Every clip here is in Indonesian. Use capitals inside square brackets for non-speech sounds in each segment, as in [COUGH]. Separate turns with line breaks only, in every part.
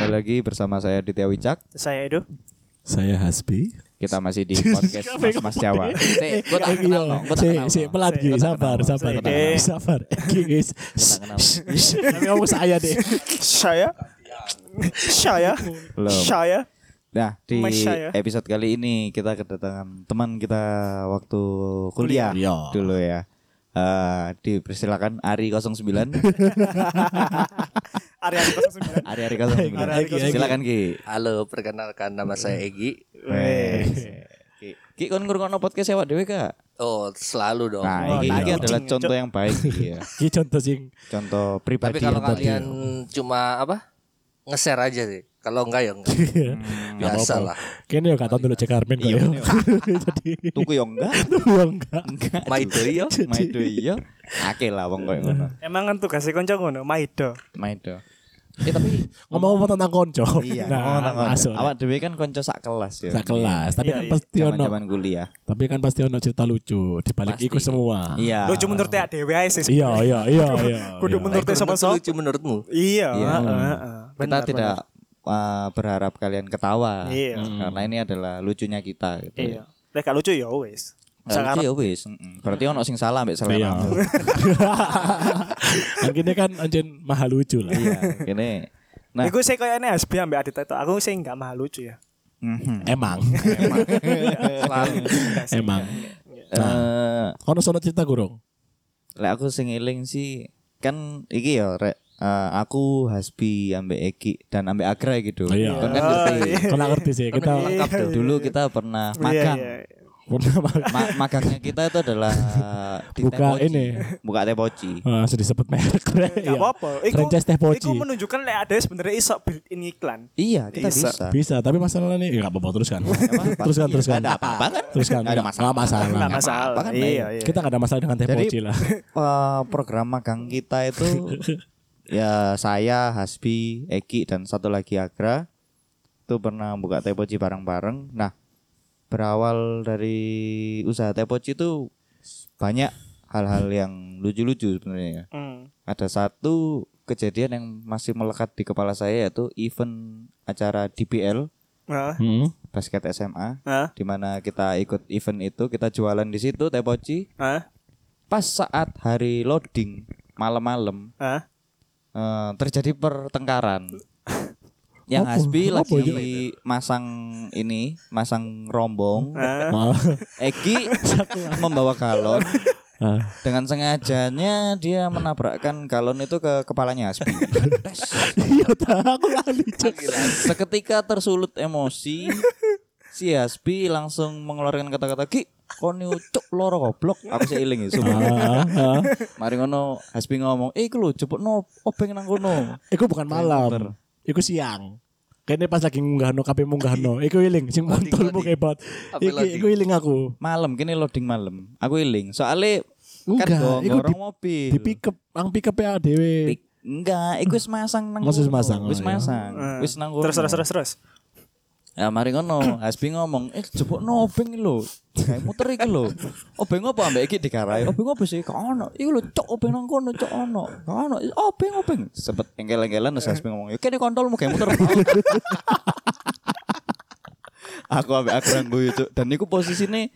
Kembali lagi bersama saya Ditya Wicak.
Saya Edo.
Saya Hasbi.
Kita masih
[LAUGHS]
di podcast Mas Mas Jawa.
Nih, gue tak kenal
Iya,
dong, gue tak
si,
kenal
si,
dong.
pelan
Saya-
gini,
gua tak
sabar,
kenal.
sabar,
Saya deh.
sabar. Gini, guys.
kenal.
Tapi kamu saya deh.
Saya. Saya.
Belum.
Saya.
Nah, di
Mas
ya.
saya.
episode kali ini kita kedatangan teman kita waktu kuliah
Kuliah.
dulu ya. Eh, dipersilakan Ari
[LAUGHS]
09
Area 09.
Ari Ari 09
Ari, Ari, Ari.
silakan Ki
Halo, perkenalkan nama saya Egi.
Wes. Ki, Ki kon ngurungokno podcast awak dhewe Kak
Oh, selalu dong.
Nah
Oh,
iki,
nah,
iki
iya.
adalah contoh yang
[LAUGHS]
baik Ki, ya.
Ini contoh sing
Contoh pribadi
Tapi kalau
yang tadi.
kalian cuma apa? Nge-share aja sih. Kalau enggak ya enggak. Biasa lah.
Kayaknya ya gak tau dulu cek Armin kok ya. [LAUGHS] Jadi
tuku yo ya enggak
Tuh enggak
Maido
[LAUGHS]
yo.
maido iya akeh lah wong koyo ngono
Emang kan tugasnya konco ngono, Maido.
maido
Eh tapi Ngomong-ngomong tentang konco
Oh,
Iya,
Nah
nang kono.
masuk
awak dhewe kan konco sak kelas ya
Sak kelas Tapi
Iya,
kan
iya.
pasti ono
zaman-zaman kuliah
Tapi kan pasti ono cerita lucu Di balik iku semua
iya
Lo cuma menurut ya dewe aja sih.
Iya iya iya iya
Kudu
iya.
menurut sama
Menurut
sop.
lucu menurutmu?
Iya.
Iya.
heeh, heeh.
kita
Benar,
tidak uh, berharap kalian ketawa Hmm.
Iya.
Hmm.
karena ini adalah lucunya kita
benar.
gitu.
Iya. Lek gak lucu ya wis.
Nah, lucu ya wis. Mm-mm. Berarti ono sing salah mbek
Iya.
selera.
Akhirnya kan anjen mahal lucu lah.
Iya, kene. Nah,
Iku sih kayaknya Hasbi ambek Adit itu. Aku sih gak mahal lucu ya.
mhm.
Emang,
Selalu.
emang.
Eh,
Kono sono cerita gurung.
lek aku sing eling sih kan iki ya rek eh, aku Hasbi ambek Eki dan ambek Agra gitu.
Iya.
Kon kan ngerti.
Kena ngerti sih Ya, kita
Kan
[LAUGHS]
lengkap tuh.
Dulu kita pernah magang.
Iya, iya.
pernah makan.
Ma- magangnya kita itu adalah di
[LAUGHS] Buka
Tepoci.
ini.
Buka tepoci.
Ah, sudah disebut merek.
Iya.
Iya.
Gak apa-apa. Iku-
Franchise teh
Iku
poci.
menunjukkan lek ada sebenarnya iso build in iklan.
Iya, kita bisa.
Bisa, tapi masalahnya nih enggak apa-apa teruskan. Teruskan,
Iya,
teruskan.
nggak ada apa-apa kan?
Teruskan.
Nggak ada
Nggak-
masalah.
nggak masalah.
Gak masalah.
apa-apa kan,
Iya,
Bay?
iya.
Kita nggak ada masalah dengan teh
Jadi-
poci lah.
Eh, program magang kita itu
[LAUGHS]
ya saya, Hasbi, Eki dan satu lagi Agra itu pernah buka tepoci bareng-bareng. Nah, berawal dari usaha tepoci itu banyak hal-hal yang lucu-lucu sebenarnya. ya.
Hmm.
Ada satu kejadian yang masih melekat di kepala saya yaitu event acara DBL
Heeh.
Hmm.
basket SMA
Heeh.
di mana kita ikut event itu kita jualan di situ tepoci
Heeh.
pas saat hari loading malam-malam
Heeh.
eh, terjadi
[LAUGHS]
pertengkaran yang
Apa?
Hasbi
Apa
lagi masang ini masang
[LAUGHS]
rombong
Heeh.
Maaf.
Eki
[LAUGHS]
membawa galon
Ah,
dengan sengajanya dia menabrakkan galon itu ke kepalanya Hasbi
[LAUGHS] Iya, tak, aku lali. Cuk.
seketika tersulut emosi si Hasbi langsung mengeluarkan kata-kata ki koni cuk loro goblok aku sih iling ya, sumpah.
Ah, ah.
Mari ngono Hasbi ngomong, "Eh, iku lho jebukno obeng nang kono."
Iku bukan malam. Iku siang. Kayaknya pas lagi ngunggahno kabeh munggahno. Iku iling sing montolmu hebat.
Apa loading?
Iki iku iling aku.
Malam kini loading malam. Aku iling. Soale kan
Enggak,
go
iku
ngorong
di-
mobil.
Di pick up, ang pick up ya dhewe.
Pik- Enggak, iku wis masang nang
Maksud
kono.
masang,
Wis
oh, iya.
masang. Wis nang kono.
Terus terus terus terus.
Ya mari [COUGHS] ngono, Hasbi ngomong, "Eh, jebukno obeng iki lho. Kayak muter iki lho. Obeng apa ambek iki digarai? Obeng apa sih? Kok ono. Iku lho cok obeng nang kono, cok ono. Kok ono. Obeng obeng. Sempet engkel-engkelan terus Hasbi ngomong, "Ya kene kontolmu kayak muter." [LAUGHS] aku ambek akran guyu cuk dan niku posisine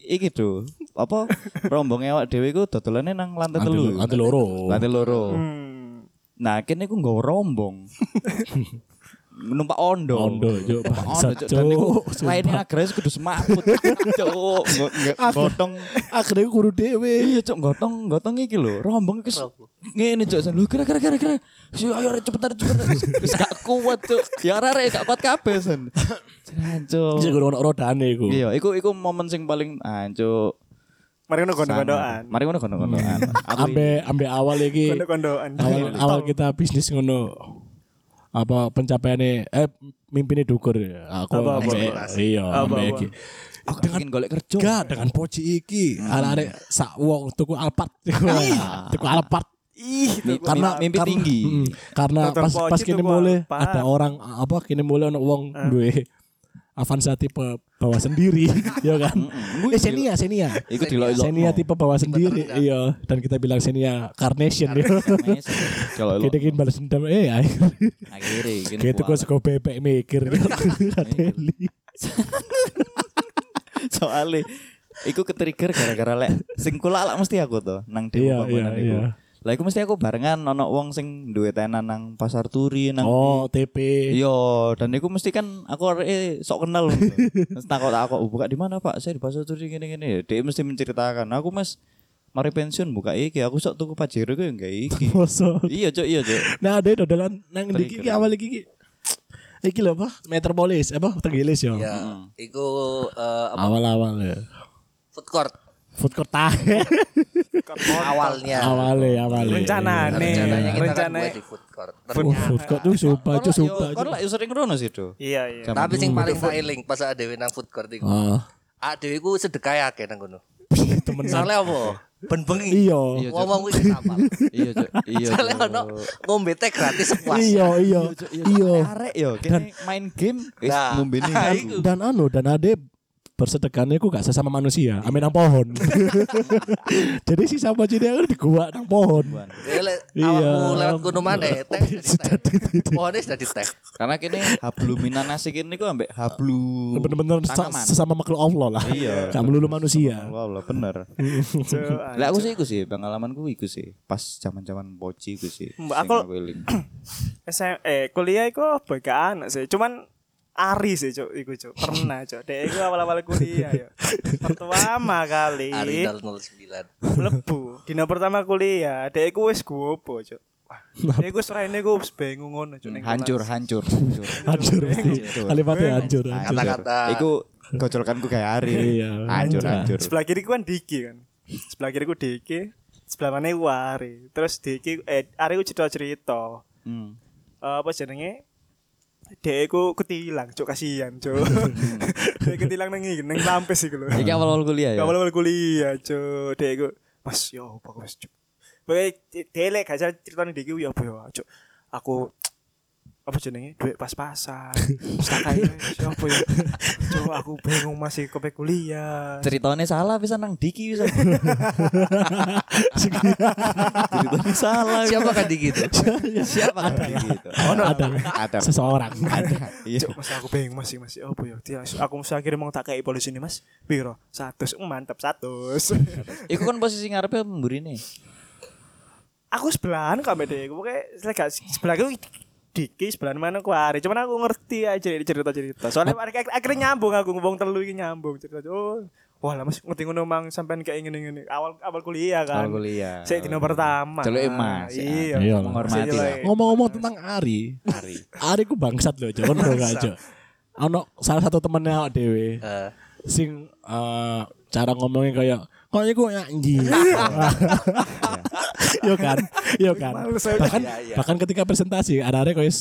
iki tuh apa rombong awak dhewe iku dodolane nang lantai
Lantai
telu
lo- lantai loro.
lantai loro
Hmm.
nah kene iku nggawa
[LAUGHS]
rombong numpak ondo
Ondo, Cuk.
Numpak
Bangsat,
ondo cuk dan niku
Cuk. Sumpah.
lainnya agres kudu semaput cuk Nggo- nggo- gotong
Akhirnya aku kuru dhewe.
iya cuk gotong gotong iki lho rombong iki s- ngene cuk lho kira kira kira kira Si, ayo Rek, cepetan cepetan wis gak kuat cuk ya ora Rek, gak kuat kabeh sen Jalan, Cuk.
Sing guru ono rodane iku.
Iya, iku iku momen sing paling anjuk.
Mari ngono gondok-gondokan.
Mari ngono kono kono.
Hmm. Ambe ambe awal iki.
Gondok-gondokan.
Awal, awal kita bisnis ngono apa pencapaiannya eh mimpinnya dukur ya. aku
Apa, apa?
ambe- iya
Apa,
ambe
apa?
iki.
Aku pengen golek kerja.
Gak dengan poci iki arek-arek sak wong tuku alpat [LAUGHS] tuku alpat
Ih, itu
Mi-
gua-
Karena- mimpi tinggi.
Mm, karena
Dokter
pas
Poci
pas kini
tuku Eh.
mulai
Alphard.
ada orang apa kini mulai ono wong duwe Avanza tipe bawah [LAUGHS] sendiri, ya kan?
Mm-mm.
eh Xenia, Xenia.
Iku dilok-ilokno.
Xenia tipe bawah sendiri,
terendah.
iya. Dan kita bilang Xenia Carnation ya.
Dilok-ilokno.
Kita balas dendam eh akhirnya.
Akhirnya
[LAUGHS]
gini
Gitu kok
kuat.
suka bebek mikir [LAUGHS] Adeli.
soalnya iku ketrigger gara-gara lek sing kula alak mesti aku to nang demo
Iya,
bangunan
iya,
iku.
iya.
Lah iku mesti aku barengan ono wong sing duwe tenan nang pasar turi nang
Oh, TP.
Iya, dan iku mesti kan aku areke sok kenal. Terus takut aku "Oh, buka di mana Pak? Saya di pasar turi gini-gini. Dia mesti menceritakan. Nah, Aku Mas mari pensiun buka iki, aku sok tuku pajero ku enggak
[LAUGHS]
iki.
Masa.
iya, Cuk, iya, Cuk.
Nah, ada dodolan nang ndi
Trigger.
iki awal iki. Iki lho apa? Metropolis apa Tenggilis yo.
Iya.
Ya, iku eh, apa,
Awal-awal ya.
food court
Food court
[LAUGHS]
tahe.
awalnya.
Awale, awale.
Rencana nih.
Rencananya kita kan
Rencana.
buat di food court.
Oh, food court tuh sumpah, tuh sumpah.
Iya, Kon lak yo sering ngono sih, Do.
[LAUGHS]
Iya iya.
Tapi sing paling tak eling pas adewe nang food court iku.
Ah.
Adewe ku sedekah ya, akeh nang kono.
Temen
Soalnya apa? Ben bengi.
Iya.
Ngomong kuwi kapal.
Iya, Cuk. Iya.
Soalnya
Cuk.
ono ngombe teh gratis sepuas.
Iya, iya. Iya.
Arek yo, kene main game wis
Nah,
ngombe ning
ah,
aku.
iku.
Dan anu dan ade bersedekahnya ku gak sesama
Iya.
manusia, amin nang
[LAUGHS]
pohon. Jadi si sama jadi aku di gua nang pohon. [LAUGHS]
Ya, le-
Iya.
Awakmu lewat gunung mana? Teh sudah
ya.
di teh. Pohonnya sudah di teh.
Karena kene hablu minanasi kene ku ambek hablu
Bener-bener se-
Uh, tanaman.
sesama makhluk Allah lah.
Iya.
Gak melulu manusia.
Wah, lah bener.
Cuk, ah.
Lah aku sih iku sih, pengalamanku iku sih. Pas zaman-zaman boci iku sih.
Mbak,
sing
aku-
[CLEARS THROAT] eling.
SM, eh kuliah iku bega anak sih. Cuman Ari sih cok, iku cok. Pernah cok. Dek iku awal-awal kuliah ya. Pertama kali
Aridal 09.
lebu. Dina pertama kuliah, dek iku wis gopo cok. Wah, dek iku seraine iku wis bingung ngono cok. ning
Hancur,
kelas.
hancur, hancur.
Hancur
Iya,
mesti. Kalimatnya hancur.
Nah,
hancur.
Kata-kata.
Iku gocolkanku kayak hari.
Iya,
Hancur, hancur.
hancur.
Sebelah kiri ku kan Diki kan. Sebelah kiri ku Diki, sebelah mana ku Ari. Terus Diki eh Ari ku cerita-cerita.
Hmm.
Eh, apa jenenge? Dek iku ketilang cok kasihan cok. Dek ketilang nang iki, nang lampes iku lho.
Iki awal-awal kuliah ya.
Gak awal kuliah, cuk. Dek iku, Mas, yo apa Mas, cuk. Pokoke delek gak salah critane dek iku yo apa yo, cuk. Aku apa jenenge? Duit pas-pasan. Sakai yo ya apa yo. Cuk, aku bingung masih kope kuliah.
Ceritanya salah bisa nang Diki bisa. Ceritanya salah. [LAUGHS]
Siapa kan di gitu?
Siapa kan Diki itu?
Ada.
Ada.
Seseorang. Ada.
Iya.
Cuk, Mas aku bingung masih masih apa yo. Dia aku mesti akhirnya mau tak kei polisi ini, Mas. Piro? 100. Mm, Mantap, 100.
Iku kan posisi ngarepe mburine.
aku sebelahan kok mbak aku pokoknya saya gak sebelah aku dikis sebelahan mana aku hari cuman aku ngerti aja ini cerita cerita soalnya mereka ak- akhirnya nyambung aku ngomong terlalu ini nyambung cerita oh wah lah mas ngerti ngono mang sampean kayak ingin ingin awal awal kuliah kan
Awal kuliah.
saya dino pertama
Celuke Mas, ya.
iya
Iya lah.
Menghormati lah.
Ngomong-ngomong tentang Ari. Ari. Ari ku bangsat loh, jangan bro aja. Ono salah satu temennya awak dewe.
Eh,
Sing eh, cara ngomongnya kayak kok iku
[LAUGHS]
nyanyi.
Iya.
Yo kan, yo kan.
Males aja.
Bahkan
Iya, iya.
bahkan ketika presentasi ada-ada kayak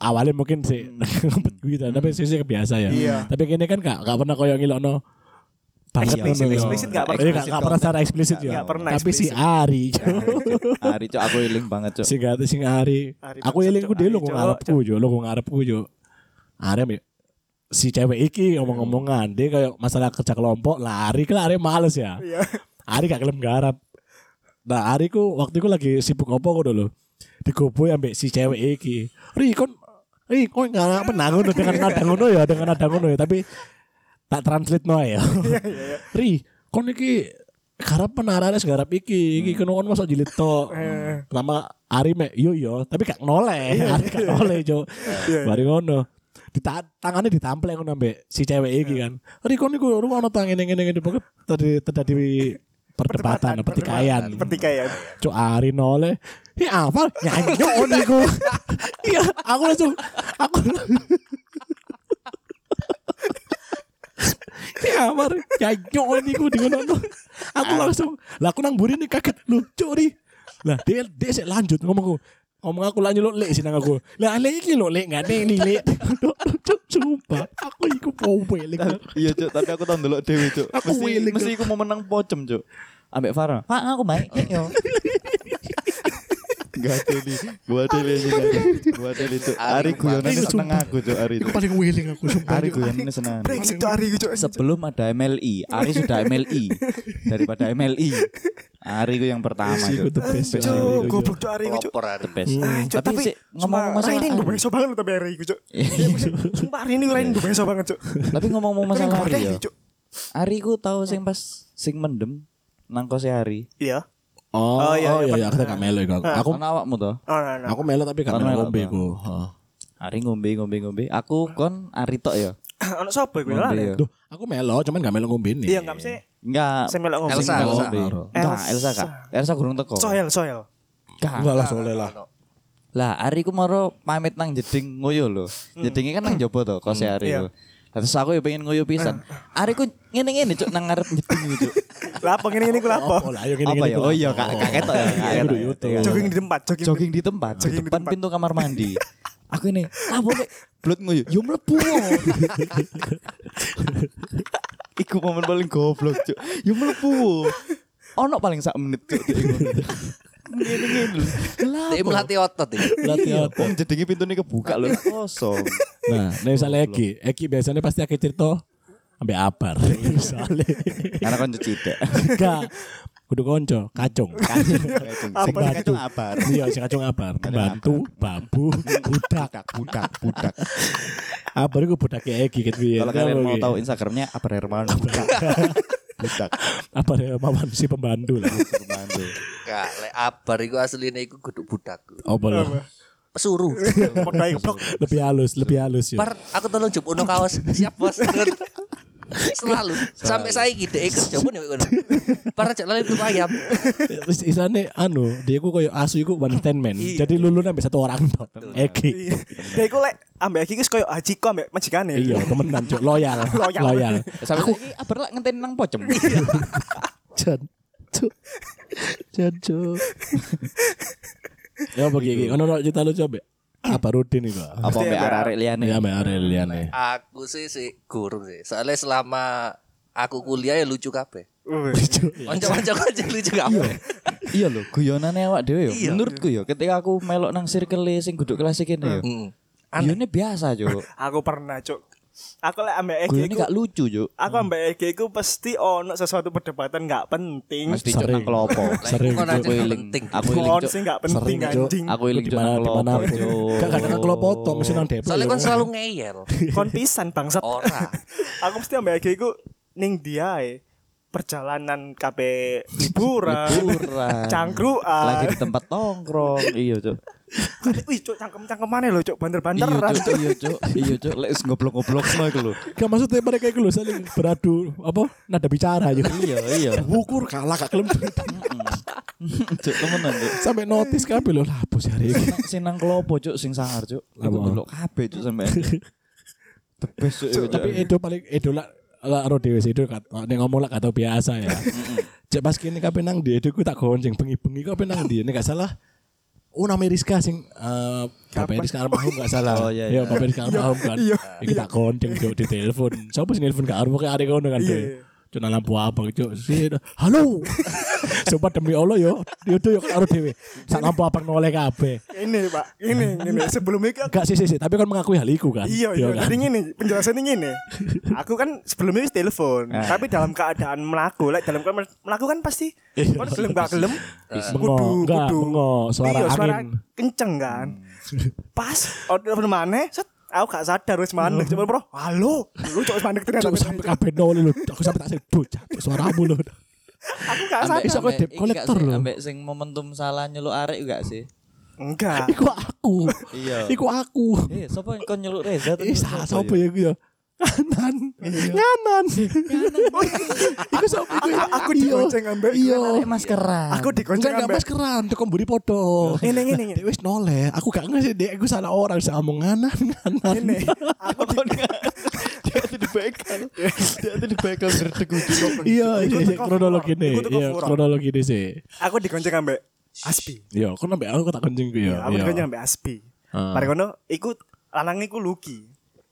awalnya mungkin sih [LAUGHS] ngumpet gitu, tapi sih sih kebiasa ya.
Hmm. Iya.
Tapi kini kan gak gak pernah koyo ngilokno bangsat
Eksplisit,
ngono.
eksplisit gak pernah.
Iya, gak- gak pernah secara eksplisit yo.
Gak pernah
Tapi si
eksplisit. Iya.
Ari. Jo.
Hari cok aku eling banget cok.
sing gak sing ari.
Ari
Aku
Bangsa,
eling ku
Cok.
dhewe
Ari,
lu kok
Cok,
ngarepku yo, lu kok ngarepku yo. Arem ya. Si cewek iki omong-omongan dia kayak masalah kerja kelompok lari kan Ari males ya.
Iya.
Ari gak kelem garap. Nah Ari ku waktu itu lagi sibuk opo ku dulu. Digoboi ambek si cewek iki. Ri kon Ri kon gak menang ngono dengan nada ngono ya, dengan nada ngono ya, tapi tak translate no ya. [LAUGHS] Ri, kon iki garap penarane segarap iki, iki kono kon masuk jilid tok. Lama Ari mek yo yo, tapi gak noleh, Ari gak noleh [LAUGHS] jo. Bari ngono. Dita tangannya ditamplek ngono ambek si cewek iki kan. Ri kon iku rumono tang ngene ngene ngene pokoke tadi terjadi perdebatan, pertikaian.
pertikaian
Cuk Ari noleh. Ya apa? Nyanyi on iku. Iya, aku langsung aku Ya amar, nyanyi on iku di ngono. Aku langsung, lah aku nang buri nih kaget lu, curi. Lah dia dia sik lanjut ngomongku. Ngomong aku lanjut lo lek sinang aku. Lah lek iki lo lek nggak ada ini lek. [LAUGHS] Cuk, Sumpah, aku iku poweling.
Iya cok, tapi aku tau ndelok dhewe cok.
Aku
Mesti
willing,
mesti aku mau menang pocem cok. Ambek Farah. Pak aku baik yo. [LAUGHS] Gak teli, gua teli aja. Gua teli tuh. Ari guyonane seneng aku tuh Ari.
Iku
tuh.
paling willing aku sumpah.
Ari guyonane seneng.
Brengsek tuh hari itu.
Sebelum ada MLI, Ari sudah MLI daripada MLI. Ari ku yang pertama
Iku
tuh.
the best.
Cuk,
Cuk, goblok tuh hari itu. iya, Cuk.
Pelopor Ari.
Best.
Ah, Cuk,
Tapi sih, ngomong-ngomong
sumpah,
masalah
Rain gue
Ari.
besok banget tapi hari itu. Cuk.
[LAUGHS]
Sumpah hari ini lain gue besok banget, Cuk.
Tapi ngomong-ngomong
Rain
masalah
gue
Ari
besok,
ya.
Cuk.
Ari ku tahu sing pas sing mendem nang kose Ari.
Iya.
Oh,
Oh,
oh
iya,
iya,
iya,
iya, aku gak melo iku. aku. Aku
Ana awakmu toh?
Oh, no, no.
aku melo tapi gak
Kan melo,
melo ngombe
Bang.
iku. Heeh.
Ari ngombe ngombe ngombe. Aku kon Ari tok ya.
Anak sopo gue lah.
Ngombe ya.
Duh, aku melo cuman gak melo ngombe nih.
Iya, enggak mesti.
Enggak.
Saya melok ngombe.
Elsa,
Elsa,
Elsa.
Elsa, Elsa kak. Elsa gurung teko.
Soel, soel.
Kak.
Enggak lah soleh lah.
Lah, Ari ku moro pamit nang jeding ngoyo lho. Jedinge kan nang jopo to kose Ari
Hmm. Iya.
lho.
Hmm.
Lah, Terus aku ya pengen ngoyo pisan. Ari ku ngene-ngene cuk nang ngarep jeding iku cuk.
Lah, pengen ini gue lapo.
Oh, lah ayo
Apa
gini-gini.
ya? Oh iya kak, kak ketok ya. Kak
Iya,
ketok
kudu
ya.
YouTube.
Iya.
Jogging di tempat, jogging.
Jogging di tempat, di
Jogging di
depan
tempat.
pintu kamar [LAUGHS] mandi. Aku ini, lah boleh blut ngoyo. Yo mlebu. wo." [LAUGHS] Iku momen paling goblok, Cuk. Yo mlebu. wo. Ono paling sak menit, Cuk. Ngene-ngene lho. Lah,
Dia melatih otot ya.
Berarti
iya,
apa?
wong jedenge pintune kebuka lho, Iya, kosong.
Nah, nek misalnya Eki, Eki biasanya pasti akhir cerita ambek abar.
[LAUGHS]
Misalnya
Karena kon [LAUGHS] cedek.
enggak kudu konco, kacung.
Sing
Apa?
kacung apa?
Iya, si kacung abar, pembantu, babu, budak.
Budak, budak, budak.
Abar iku budake Eki gitu ya.
Kalau kalian mau tahu Instagramnya apa Herman budak. Budak.
Abar ya mawon si pembantu lah.
Hermanto.
Enggak, lek abar iku asline iku kudu budak.
Apa lo?
Pesuru.
Iya. Podai goblok.
Lebih halus, lebih halus ya.
Bar, aku tolong jemput no kaos. Siap, Bos. Selalu sampai saya gitu ikut jemput ya. Para cek lalu itu ayam.
Terus isane anu, dia ku koyo asu iku one ten man.
Iya.
Jadi lulun sampai satu orang tok. Eki.
Dia gue Iya. lek ambek iki wis koyo haji kok ambek majikane.
Iya, temenan cuk,
[LAUGHS]
loyal,
Loyal.
loyal.
Sampai aku Iya. aber lak ngenteni nang pocem.
Jan. Cuk. Jan cuk. Ya bagi iki, ono ono cerita lucu ambek apa rutin iku.
Apa mbek arek-arek liyane?
Ya ambek arek liyane.
Aku sih sih gurung sih. Soalnya selama aku kuliah ya lucu kabeh.
Wih.
Cuk.
Oncok-oncok aja lucu kabeh.
Iya lho, guyonane awak dhewe yo. Menurutku yo ketika aku melok nang circle sing duduk kelas iki yo.
Hmm.
Guyone biasa, Cuk.
Aku pernah, Cuk. Aku lek ambek iki
Guyone
iku-
gak lucu, Cuk.
Aku ambek Ege ku pasti ono sesuatu perdebatan gak penting.
Mesti Cuk nang
Sering.
kelopo.
[LAUGHS] Sering,
Kon aja
Aku
nggak
iling.
penting.
Aku iling,
Kon
Cuk.
sing gak penting
Sering, Cuk.
anjing.
Aku iling Cuk
Dimana
nang
dimana
kelopo,
pun.
Cuk.
Gak kadang kelopo tok mesti nang Depok.
Soalnya
ya.
kon selalu ngeyel.
Kon pisan bangsat.
Ora.
[LAUGHS] Aku mesti ambek Ege ku ning dia eh. perjalanan kabeh liburan. [LAUGHS]
Liburan.
Cangkruan.
Lagi di tempat tongkrong. Iya, Cuk.
Wih, Cuk, cangkem-cangkemane lho, Cuk,
Iya,
banter-banteran.
Cuk. Iya, Cuk. Iya, Cuk. Lek ngoblok-ngoblok iku lho.
Gak maksudnya mereka itu loh saling beradu apa nada bicara gitu.
Iya, iya.
Wukur kalah kak kelem
Cuk, temenan, Cuk.
sampai notice kabeh loh lah bos hari
[LAUGHS]
ini.
Nang- sing nang klopo cuk sing sangar cuk iku
Apa?
delok kabeh cuk sampe the best cuk iku, Cuk.
Tapi Edo paling Edo lah lah ro dhewe Edo kat nek ngomong lah kata biasa ya. Cek pas kene kabeh nang di Edo ku tak gonceng bengi-bengi kabeh nang di nek gak salah. Oh nama Rizka sing eh Bapak Rizka almarhum gak
Oh,
salah.
iya, iya.
Bapak Rizka almarhum kan.
iya,
Iki tak gonceng Cuk, di telepon. Sopo sing nelpon gak arep kok arek ngono kan.
Iya,
Dek.
iya.
Cuk nang lampu abang cuk. Si- Halo. [LAUGHS] Sumpah demi Allah yo. Yo yo karo dhewe. Sak lampu abang noleh kabeh.
Ini, Pak. Ini, ini. Sebelum iki aku-
Gak sih sih sih, tapi kan mengakui hal itu kan.
Iya, iya.
kan?
Jadi ngene, penjelasannya ngene. Aku kan sebelumnya wis telepon,
Ah.
tapi dalam keadaan melaku, lek dalam keadaan melaku kan pasti
Iya.
kon gelem gak gelem.
Bengok, enggak, bengok, suara
Iya, suara
angin. Hmm.
kenceng kan. Pas order mana? Set aku gak sadar wis mandek, cuma bro, halo. Lu cok wis mandek ternyata.
Iya. Cuk sampai kabeh nol lho. Aku sampai tak sedo cak suaramu lho.
Aku gak
Ambek-
sadar.
Bisa kok
Ambek- iki
dep
gak
kolektor
sih,
lho.
ambek sing momentum salah nyeluk arek gak sih
Enggak.
[LAUGHS] Iku aku.
Iya.
Iku aku.
eh sapa yang kon nyeluk Reza
Eh salah sapa ya iku ya? Kanan. [LAUGHS] Kanan. Iku sapa iku? ya?
Aku
Iya.
digonceng ambek-
Iya.
ya? maskeran
Aku digonceng
Enggak enggak
ambek.
maskeran, tuh komburi podo.
Ini, ini, ini.
Dek wis noleh, aku gak ngerti dek aku salah orang sama ngomong nganan nganan. [LAUGHS]
Ini. Aku di-
dia tuh di bekel dia tuh di bekel gerdeg
Iya, iya, iya,
teko
kronolog
furor.
ini.
Iku teko
Iya,
furor.
kronolog ini sih.
aku digonceng ambek Aspi.
Iya, aku nambah aku tak kencing ku ya.
Aku
Iya.
digonceng ambek Aspi.
Ah.
Mari kono iku lanang iku Luki.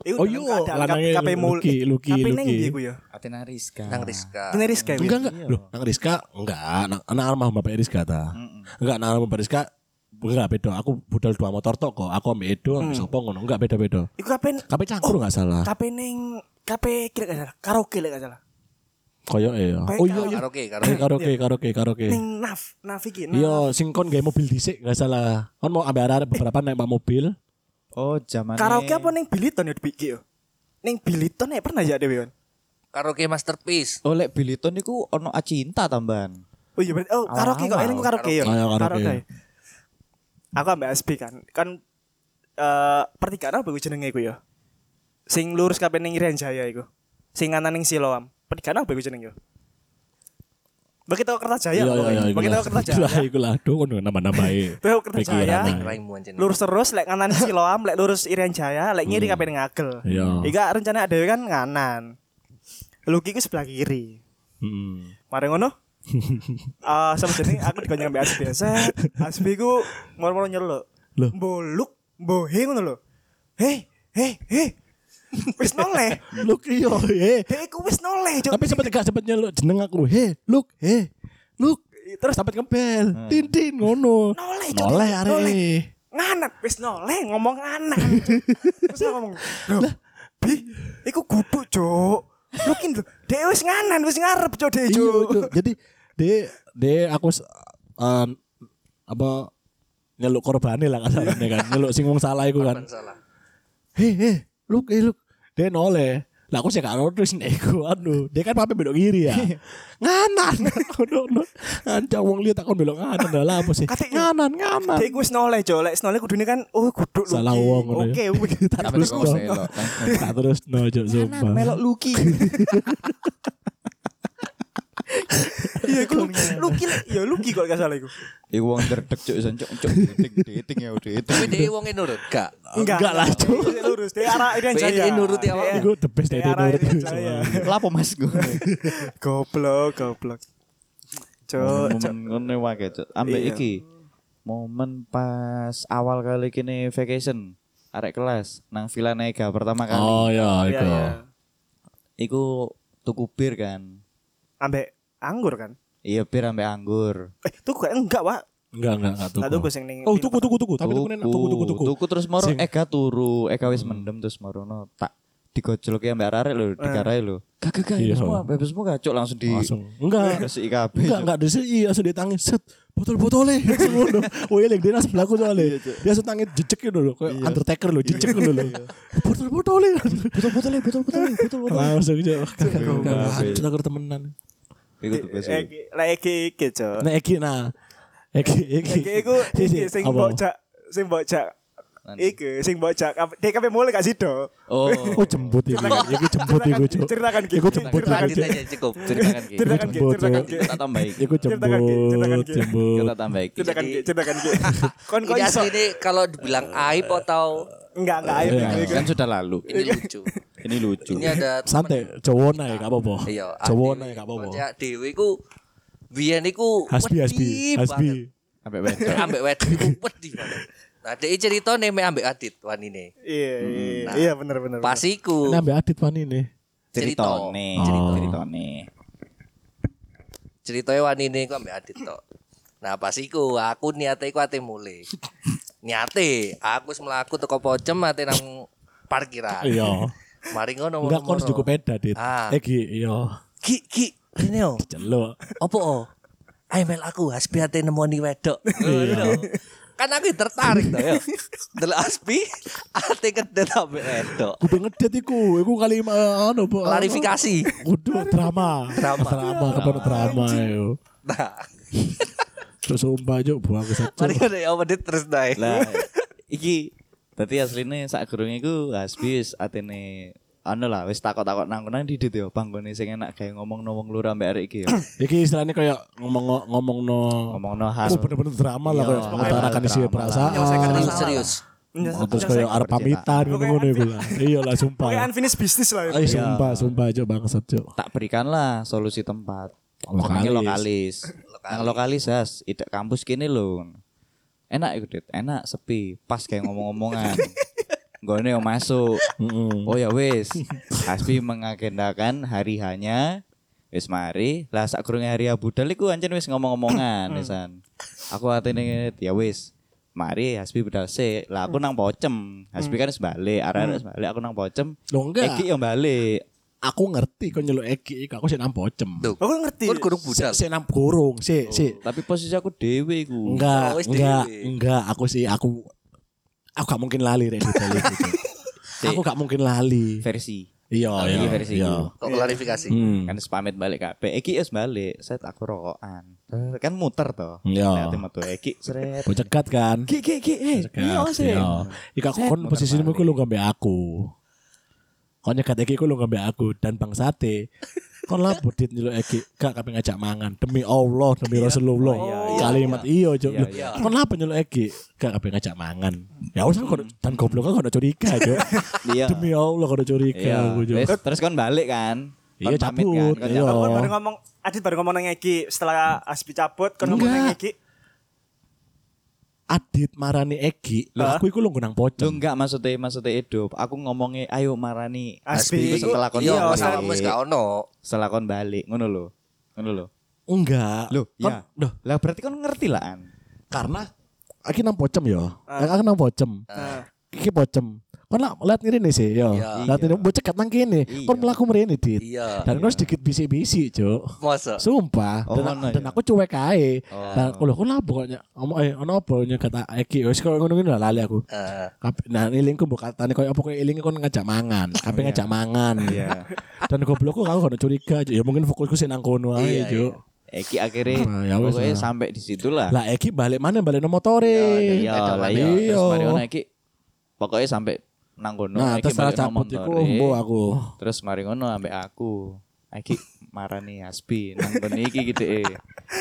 Iku
Oh
dalam
iya,
keadaan kap-
lanangnya
kape mul-
Lucky, Lucky,
kape neng
Lucky.
ndi iku ya?
Athena Rizka
Nang Rizka.
Ini Rizka iku.
Enggak enggak. Loh, nang Rizka enggak, nang nang almarhum Bapak Rizka ta. Enggak nang almarhum Bapak Rizka enggak beda. Aku budal dua motor tok kok. Aku ambil Edo, ambil Sopo ngono. Enggak beda-beda.
Iku kapan?
Kabeh cangkur enggak salah.
Kapan neng? Kape kira gak salah. Karaoke lek gak salah.
Koyo iya.
Kayak
Oh iya iya.
Karaoke,
Eh,
karaoke.
Karaoke, karaoke, karaoke.
Neng naf, naf iki. Naf.
Eh. Iya, sing kon gawe mobil dhisik enggak salah. Kon mau ambil arah beberapa naik mak mobil.
Oh, zaman
Karaoke apa neng Biliton ya dipikir yo. Neng Biliton ya pernah ya dewe kon.
Karaoke masterpiece.
Oh, lek Biliton niku ono acinta tambahan.
Oh iya berarti oh karaoke kok ini karaoke ya.
Ayo, Ah, karaoke.
Aku ambek SB kan. Kan eh pertigaan apa gue jenenge iku ya? Sing lurus kabeh ning Irian Jaya iku. Sing kanan ning Siloam. Pertigaan apa gue jenenge yo? Bagi tau Kertajaya
Iya, iya,
pokoknya.
iya.
Bagi tau
Lah
Kertajaya.
iku lah. Duh, e. kon nama-namae.
Tau Kertajaya.
Pikiran.
Raimu anjing.
Lurus terus lek kanan Siloam, lek lurus Irian Jaya, lek ngiri kabeh ning Agel.
Hmm. Iya.
Ika rencana ada kan kanan. Luki ku sebelah kiri.
Hmm.
Mari
[LAUGHS]
ngono. Ah, sama jeneng aku digonjang ambek Asbi. Set, Asbi ku moro-moro nyeluk.
Loh.
Boluk, bohe ngono lho. Hei, hei, hei. [LAUGHS] Wis noleh.
Look iya, eh.
Dek ku wis noleh, Cuk.
Tapi sempat gak sempat nyeluk jeneng aku. He, look, he, look.
Terus
Terus sampai ngebel. Tin tin ngono.
Hmm. Noleh, Cuk.
Noleh
Noleh.
arek.
nganak wis noleh ngomong
[LAUGHS]
nganak. Terus aku ngomong, "Loh, Bi, iku gubuk, Cuk." Lukin lho, dek wis nganan, wis ngarep, Cuk, dek,
Iya,
Cuk.
Cuk. Jadi de de aku s- um, apa nyeluk korbannya lah kasarnya kan. Nyeluk sing wong salah iku kan.
Salah.
He, he, look, he, look. De noleh. Lah aku sih gak ngerti sih nego aduh. Dia kan pape belok kiri ya.
Iya.
nganan. [LAUGHS] Ngono. Ancang wong lihat aku belok nganan lah apa sih?
Katik, Cuk.
Nganan, nganan.
Dek ku wis noleh, Cuk. Lek wis noleh kudune kan, oh, guduk Luki.
Salah wong ngono
Oke,
ya. [LAUGHS]
wis.
Tak terus no. [LAUGHS] Tak terus no, Cuk, sumpah.
Luki.
Iya, iku Luki. Luki, lek- ya Luki kok gak salah iku.
[LAUGHS]
Oh,
Iku wong derdek cuk iso cuk cuk dating dating ya dating.
Tapi dia wong nurut gak.
Enggak,
Enggak lah, Cuk.
Dia lurus, dia arah Irian
Dia
Jaya.
nuruti
Dia-
awakmu.
Iku the best
dia
dari
arah
Donor
Irian
itu.
Jaya.
Lapo Mas gue.
Goblok, goblok. Cuk, cuk.
Momen ngene wae cuk. Ambek
Iya.
iki. Momen pas awal kali kene vacation arek kelas nang Villa Nega pertama kan. kali.
Oh
Ya,
ya, iku.
ya.
Iku tuku bir kan.
Ambek anggur kan?
Iya bir ambek anggur.
Eh, tuku kan enggak, Wak.
Enggak, enggak, enggak tuku.
Enggak tuku sing ning.
Oh, tuku, tuku, tuku. Tapi tuku enak, tuku, tuku, tuku.
Tuku terus moro
Sing- Hmm.
Ega turu, Ega wis mendem terus moro no tak digojloki ambek arek lho, digarai lho. Gak gak
Eh. Iya.
gak semua, bebas semua gak cuk langsung di
Langsung. Enggak.
Kasih kabeh.
Enggak, enggak desi, iya langsung dia tangis. Set, botol-botolnya. [LAUGHS] Langsung ngono. Wih, lek dia langsung berlaku soalnya. Dia langsung tangis jejek gitu loh. Kayak Undertaker loh, jejek gitu loh. Botol-botolnya. Botol-botolnya, botol-botolnya, botol-botolnya. Langsung aja. Wah, Kakak, kakak, hancur aku temenan.
Iku tugas. iku.
Eki- Lah iki iki, Cuk.
Nah, Eki, nah. Eki, Eki.
Iki
[LAUGHS]
iku iki sing
Apa?
mbok jak sing mbok jak Iki sing mbok jak apa- Dek kabeh mulai gak sido.
[LAUGHS]
Oh.
Oh, jemput itu. Iku jemput iku, Cuk.
Ceritakan, Ki.
Iku jemput
Ceritakan,
lagi.
Lanjut aja cukup.
ceritakan ki.
Ceritakan, Ki,
Jemput,
ceritakan,
Cuk.
Ki.
Kita tambah iki.
Iku
Ceritakan, Ki. Ceritakan,
jemput,
Ki.
jemput.
Kita tambah iki.
Ceritakan, Ki.
Jadi-
Ceritakan, Ki.
[LAUGHS]
Kon kon
Ini
iso.
asli ini kalau dibilang aib atau
Enggak, enggak
Iya,
ayo. Iya,
Nah,
Hmm,
Kan sudah lalu.
ini lucu.
Ini lucu.
Ini ada
Santai, cowok naik gak apa-apa.
Iya,
Cowok
adewe.
naik gak apa-apa.
Kocak dewe ku biyen iku
Hasbi,
wedi
hasbi, hasbi.
banget.
Sampai wedok.
Ambek wedi ku wedi banget. Nah, dek cerita neme ambek Adit wanine.
Iya, iya.
nah,
Iya, bener bener.
Pas iku
Ini ambil adit pani nih.
cerita
Ceritone.
Cerita.
Ceritone.
ceritanya wanine ku ambek Adit tok. Nah, pas iku aku niate iku ate mule. Niate aku wis mlaku teko pocem ate nang parkiran.
Iya.
Mari ngono
Enggak kon
moro-moro.
cukup beda, Dit.
Ah.
Eh, Ki, iya.
Ki ki ini yo.
Celuk.
Opo o? Ayo mel aku Hasbi ate nemoni wedok.
Iya.
Ngono. kan aku tertarik to ya. Delok Hasbi ate kedet ambek wedok.
Kudu ngedet iku. Iku kali eh, anu, Bu.
Klarifikasi.
Kudu drama.
Drama. Ah.
Drama, kepenuh drama yo.
Nah,
Terus sumpah juk buang ke
mari kita ya menit terus naik.
Lah iki dadi asline sak gurunge iku Hasbi wis atene anu lah wis takok-takok nang-nang di dit yo panggone sing enak gawe ngomong no wong lur ambek arek iki yo.
Iki istilahnya kayak ngomong ngomong no.
Ngomongno
Oh,
hal
bener-bener drama lah
Iya,
kayak mengutarakan
drama.
isi
iya, kan
perasaan.
Menyelesaikan
Serius, Iya,
masalah.
serius.
Oh, Terus kayak arep pamitan ngono-ngono iku lah. Iya lah sumpah.
kan
Kayak unfinished business lah. ya.
Iya.
Ayo sumpah, sumpah juk bangsat juk.
tak berikanlah solusi tempat.
Lokalis.
Jenenge lokalis. Nang lokalis has, idak kampus kini lho. Enak iku, Dit. Enak, sepi, pas kayak ngomong-ngomongan.
[LAUGHS]
Gone yo masuk. Oh ya wis. Hasbi mengagendakan hari hanya wis mari. Lah sak hari ya budal iku ancen wis ngomong-ngomongan, Desan. Aku atene ya wis. mari Hasbi budal se lah aku nang pocem Hasbi kan sebalik arah-arah sebalik aku nang pocem
Loh, Mm. enggak.
Eki yang balik
Aku ngerti kau nyeluk Eki, Eki, aku sih nang pocem.
Tuh.
Aku ngerti.
Kon kudu budal.
Sih nang kurung, sih sih.
tapi posisi aku dewe ku
Enggak,
Oh, wis
enggak,
dewe.
enggak. Aku sih aku aku gak mungkin lali rek detail itu.
[LAUGHS]
Cuk. aku gak mungkin lali.
versi
Iya,
Oh,
iya,
iki versi ku.
iya.
Kok klarifikasi.
Hmm.
kan sepamit balik kabeh Eki es balik set aku rokokan kan muter toh
Eh. Iya.
Liatin metu Eki seret
Bocah cekat kan.
Ki ki ki eh iya sih
Ika
Set,
kon posisi
muter
ku lu ngambil aku. Kon nyekat Eki ku lu ngambil aku dan Bang Sate. Kon lah budit nyeluk Eki, gak kabeh ngajak mangan demi Allah, demi
Iya.
Rasulullah. Kalimat iyo, Cuk. Loh,
iya.
Kon lah penyeluk Eki, gak kabeh ngajak mangan. Ya wis kon dan goblok kon udah curiga, Cuk.
[LAUGHS] Iya.
Demi Allah kon udah curiga
iya
aku, Cuk.
Wes, terus kan balik kan
Iya,
Kon pamit
cabut,
kan, kon
iya.
Aku baru ngomong Adit baru ngomong nang Eki setelah Aspi cabut kon ngomong nang
Enggak.
Eki.
Adit marani
Hah?
Egi, lah aku iku lungguh nang
Lu
pocong.
enggak maksudnya maksudnya hidup. Aku ngomongnya ayo marani.
Aspi.
Itu setelah kon
Iya,
Iya,
balik.
masalahmu wis gak ono.
Setelah kon balik, ngono lho. Ngono lho.
Enggak.
Loh,
Kon-
iya.
Duh,
Lah berarti kon ngerti lah an.
karena aku nang pocem yo. Aku nang pocem. Iki pocem. Kon lah lihat ngene nih sih yo.
Iya.
Lihat ngene bocah kat nang kene. Kon
Iya.
mlaku mrene dit.
Iya.
Dan harus dikit bisik-bisik, Cuk.
Masa?
Sumpah,
Oh,
dan,
ngono
dan
ya?
aku cuek ae. Dan aku lho, kon lah pokoknya ngomong eh ono apa nyekat Egi, wis kok ngono ngene lah lali aku.
Eh,
Kape- Nah, ilingku mbok katane koyo apa koyo ilinge kon ngajak mangan, kabeh ngajak mangan.
Iya.
Dan goblokku aku gak curiga, Cuk. ya mungkin fokusku sih nang kono ae,
Iya,
Cuk.
Eki akhirnya
Ah, ya wes
pokoknya
lah.
sampai di situ lah.
Lah Eki balik mana balik nomor motore.
Ah. Iya, lah iya. Terus mari ngono Eki. Pokoknya sampai nang kono
Nah,
Eki
terus salah
balik ngomong
cabut iku
tore.
mbo aku.
Eh, Terus mari ngono ambek aku. Eki marani Aspi nang kono iki gitu eh.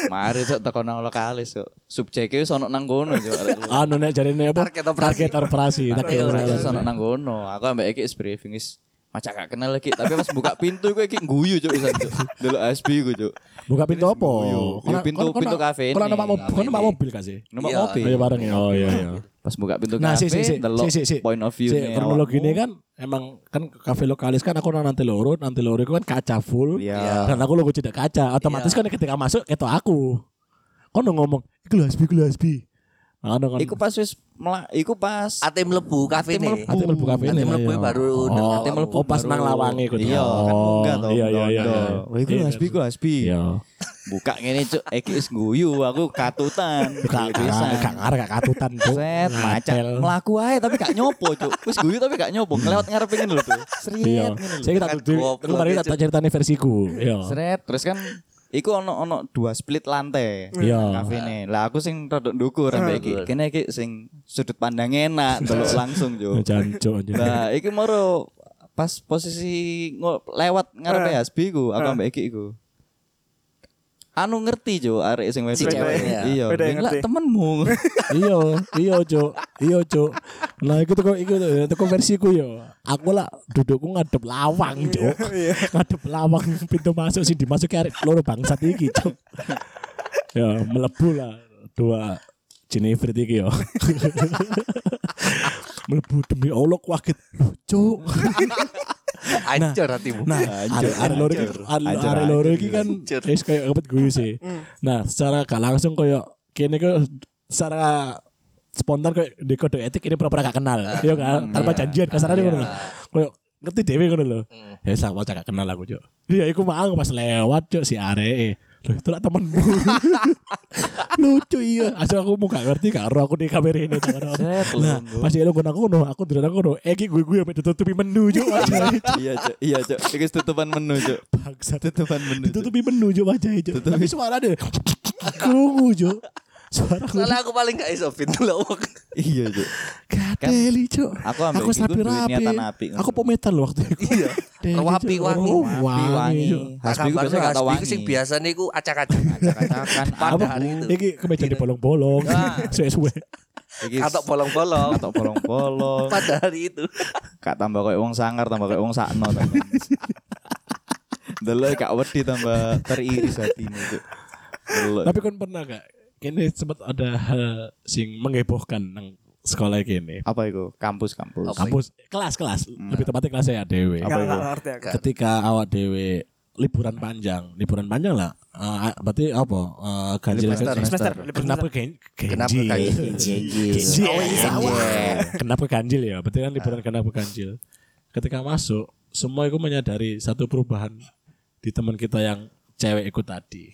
Mari sok teko nang lokalis sok. Subjeke wis ono nang kono Cuk.
Anu nek jarine apa?
Target operasi.
Target operasi. Target
Iya,
operasi.
saya sono nang kono. Aku ambek iki is briefing is macak gak kenal lagi, tapi pas buka pintu gue iki guyu cuk pisan cuk. Delok SB gue cuk.
Buka pintu apa?
Iya,
Kono-
pintu-
kono- kono-
pintu kafe
Kono
ini.
numpak mobil, kono numpak mobil gak sih?
Nomor
Iya.
mobil.
Ayo bareng ya. Oh iya iya.
Pas buka pintu
Nah,
kafe,
sih sih sih.
delok
sih, sih.
point of view
Sih, kronologi ini kan emang kan kafe lokalis kan aku nang nanti loro, nanti loro itu kan kaca full.
Iya.
Dan aku logo tidak kaca, otomatis kan ketika masuk ketok aku. Kono ngomong, "Iku lho Hasbi, iku lho Hasbi." Nah, kono kan.
Iku pas wis melak, iku pas
Ate mlebu kafe
mlebu.
ne.
Ati mlebu kafe
Ati
ini.
mlebu
iya.
baru nang
oh,
awakmu.
mlebu. Oh, pas nang lawange kudu. Oh,
Iya, kan munggah to.
Iya iya iya.
munggah. Wah, iku
Iya,
Hasbi, iku Hasbi.
Iya.
Buka ngene cuk, iki is guyu, aku
[LAUGHS]
katutan.
Gak
Guyu pisan.
gak ngar gak katutan tuh.
Set, macak melaku ae tapi gak nyopo cuk. Wis guyu tapi gak nyopo, kelewat ngarepe ngene lho tuh.
Iya.
Seriet ngene lho.
Saya kita
Kan
tuh
goblok,
kemarin
ya,
tak tak ceritane versiku. Iya.
Seret, terus kan iku ono ono dua split lantai.
Iya.
Kafene. Lah aku sing rodok ndukur sampe iki. Kene iki sing sudut pandang enak delok langsung yo.
Jancuk anjir.
Nah, iki moro pas posisi ngo- lewat
Eh.
ngarepe Hasbi ku, aku ambek iki iku. Anu ngerti jo arek sing wedok.
cewek, ya.
Iya,
Beda yang
lah
ngerti. [LAUGHS]
temenmu.
Iya, iya Cuk. Iya Cuk. Nah, iku tuh iku tuh tuh versiku yo. Aku lah dudukku ngadep lawang, Cuk. Ngadep lawang pintu masuk sih dimasuki arek loro bangsat iki, Cuk. Ya, melebu lah dua Jennifer iki yo. [LAUGHS] melebu demi Allah ku kaget. Loh, Cuk.
Ancur hatimu.
Nah, arek arek loro iki arek arek loro iki kan
Hancur.
wis kayak kepet guyu sih. Nah, secara gak langsung koyo kene kok secara spontan koyo di kode etik ini pura-pura gak kenal. Iya kan? Tanpa janjian kasarane ngono. lho. Koyo ngerti dhewe ngono lho. Ya sak waca gak kenal aku, Cuk. Iya, iku mau pas lewat, Cuk, si arek. Loh, itu lah temenmu. Lucu iya. Asal aku mau gak ngerti gak ero aku di kamera ini. tak ero. Nah, pas dia lu ngono aku ngono, aku dulu ngono. Eh, gue gue sampe ditutupi menu, Cuk.
Iya, Cuk. Iya, Cuk. Iki tutupan menu, Cuk.
Bangsat.
Tutupan menu. Cuk.
ditutupi menu jo wajahnya jo tapi suara deh kerungu jo suara
Soalnya aku paling gak iso pintu lawak.
Iya, Cuk.
kateli jo
Kan Aku ambil
aku
itu
sapi
duit
rapi
niatan api.
aku pometan loh waktu itu
Iya.
Deli, Jo.
Rapi, wangi.
Oh,
Rapi,
wangi,
wangi.
Jo.
Hasbi ku
Kabar
biasa gak tau
Hasbi ku
wangi.
sing biasane iku acak-acak.
Acak-acakan.
Pada
Apa?
hari itu.
Iki kemeja dibolong-bolong,
Ah.
[LAUGHS] suwe-suwe.
Iki
Katok bolong-bolong.
katok bolong-bolong.
Pada hari itu.
Kak tambah kayak wong sangar, tambah kayak wong sakno. tambah. Delok kak wedi tambah teriris hatimu Cuk. Delok.
Tapi kon pernah gak? Kini sempat ada hal sing menghebohkan nang sekolah kini.
Apa itu? Kampus-kampus.
Apa?
Kampus kelas-kelas, lebih tepatnya kelas saya dewe.
Enggak
Hmm. itu?
enggak ngerti aku.
Ketika awak dewe liburan panjang, liburan panjang lah. Eh, berarti apa? Eh, ganjil
Libur semester,
ganjil.
semester.
Libur
Kenapa gen- ganjil?
Kenapa kayak gini?
Ganjil. Kenapa ganjil ya? Berarti kan liburan kenapa ganjil? Ketika masuk, semua itu menyadari satu perubahan di teman kita yang cewek itu tadi.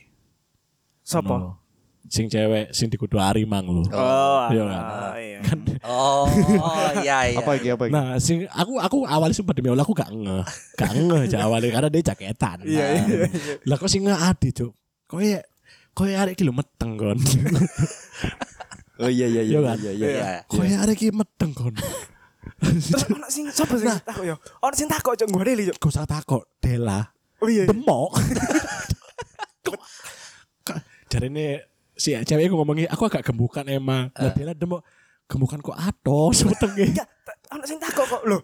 Sopo?
No. Sing cewek, sing di kudu mang lu.
Oh,
Iya kan?
ah, iya.
Oh, iya iya.
Apa iki apa iki?
Nah, sing aku aku awalnya sumpah demi Allah aku gak ngeh. Gak ngeh aja awalnya karena dia jaketan. Iya iya. Lah kok sing ngeh adi, Cuk. Koe koe arek iki lho meteng kon.
Oh iya iya
Iya
iya
kan?
iya iya.
Iya.
koe arek iki meteng kon.
Terus ono sing sopo sing
Nah.
takok yo? Ono sing takok cok gue deli cok.
Gak usah takok, Dela.
Oh iya. iya.
Demok. [LAUGHS] Jadi ini si cewek aku ngomongin aku agak gembukan emang. Lah Dela demok. Gembukan kok atos metenge.
Eh. Enggak, ta- ono Iya, sing takok kok lho.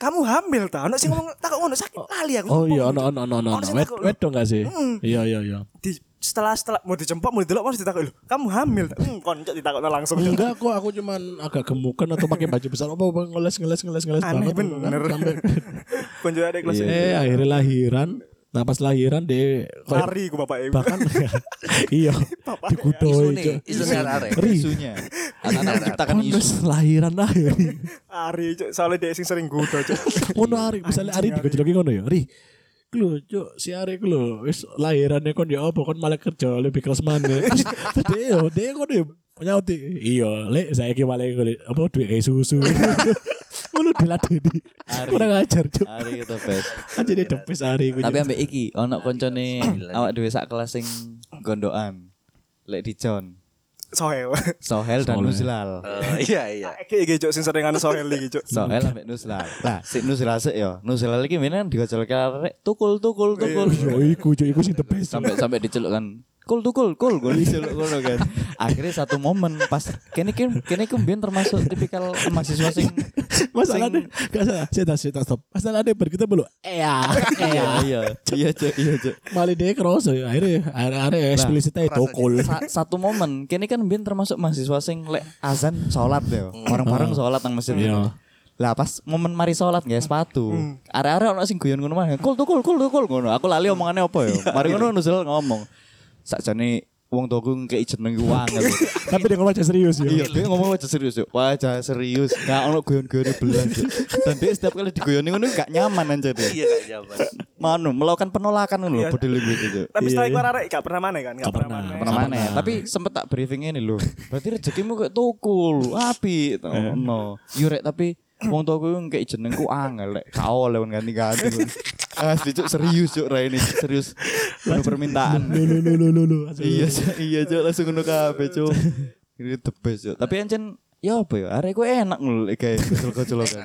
Kamu hamil ta? Ono sing ngomong takok ngono sakit lali aku.
Oh iya,
Sopo
no
gitu.
no no no.
Ono sing
Wed
takok, lho,
wed dong gak sih?
Mm.
Iya iya iya.
Di setelah setelah mau dicempok mau didelok mau ditakok lho. Kamu hamil ta? Hmm, kon cok ditakokno langsung. Cok.
Enggak kok aku cuman agak gemukan atau pakai baju besar apa apa, ngeles ngeles ngeles ngeles
Aneh
banget
bener. [LAUGHS]
Sampai-
Konjo ada kelas.
eh akhirnya lahiran nah pas lahiran deh
Lari ku bapak ibu. [LAUGHS]
bahkan iya
Isu
dikudoi
nih,
Cuk.
Iya,
isu nih arek.
Ri
Isunya. Anak-anak menciptakan
kan
isu.
wis lahiran lah
[LAUGHS]
ya Ri.
Ari cok, soalnya dia sing sering gudo cok.
ngono
Iya,
Ari misalnya Ari
Anjing, Ari.
dikojoloki ngono ya Ri Lu cuk si Ari ku lho wis lahirannya kon ya apa kon malah kerja lebih keras mana [LAUGHS] Terus dia yo dia kon yo nyauti iya lek saya ki malah golek apa duit kayak susu [LAUGHS] ngono diladeni kurang ajar cuk
Ari itu best.
kan jadi depes hari
Tapi ambek iki ono koncone awak dhewe sak kelas sing gondokan. Lek di John,
Sohel.
Sohel dan
Sohel.
Nuzlal.
Eh, Iya iya.
[LAUGHS] Iki iki cok sing sering anu sohel iki cok.
Sohel ambek Nuzlal. Lah, si Nuzlal sik yo. Nuzlal iki menen digojolke arek tukul tukul tukul.
yo iku cuk iku sing depes
sampai sampai Iya. dicelukkan kul tuh kul kul [LAUGHS] gue diceluk kul kan akhirnya satu momen pas kini kini kini kemudian termasuk tipikal mahasiswa sing
masalahnya gak salah saya tak saya tak stop masalahnya bar kita belum iya
[LAUGHS] iya
iya
iya iya cek iya cek
malah dia kerasa ya akhirnya akhirnya
Nah,
eksplisit aja tokol
Sa- satu momen kini kan bin termasuk mahasiswa sing lek azan sholat ya orang bareng sholat nang masjid gitu.
Iya.
lah pas momen mari sholat nggak sepatu area-area orang sing guyon ngono mah kul tuh kul kul tuh kul ngono aku lali omongannya apa ya mari ngono nuzul ngomong sakjane wong tokung kayak jeneng uang
tapi dia ngomong aja
[LAUGHS]
serius
Iya,
ya
dia ngomong wajah serius yuk. Wajah serius. Gak ono guyon-guyon belas. yuk. Dan dia setiap kali diguyoni ngono gak nyaman aja
Iya
dia.
gak jawaban.
Manu melakukan penolakan ngono lho
Iya.
body language itu.
Tapi setelah iku arek gak pernah maneh kan? Gak
Gak
pernah
pernah.
maneh.
Pernah mana ya? Tapi sempet tak briefing ini lho. Berarti rezekimu kayak tukul, api. Oh, no. Yurek tapi wong tuaku yang kayak jenengku angel lek gak oleh wong ganti-ganti. ngono. Ah, dicuk serius yuk Rai ini, serius. Penuh permintaan.
lu lu lu lu lu lu Langsung.
Iya, Cuk. iya Cuk, langsung ngono kabeh, Cuk. Ini the best, Cuk. Tapi ancen ya apa ya? Arek ku enak ngono lek gawe gocol-gocolokan.
Ya,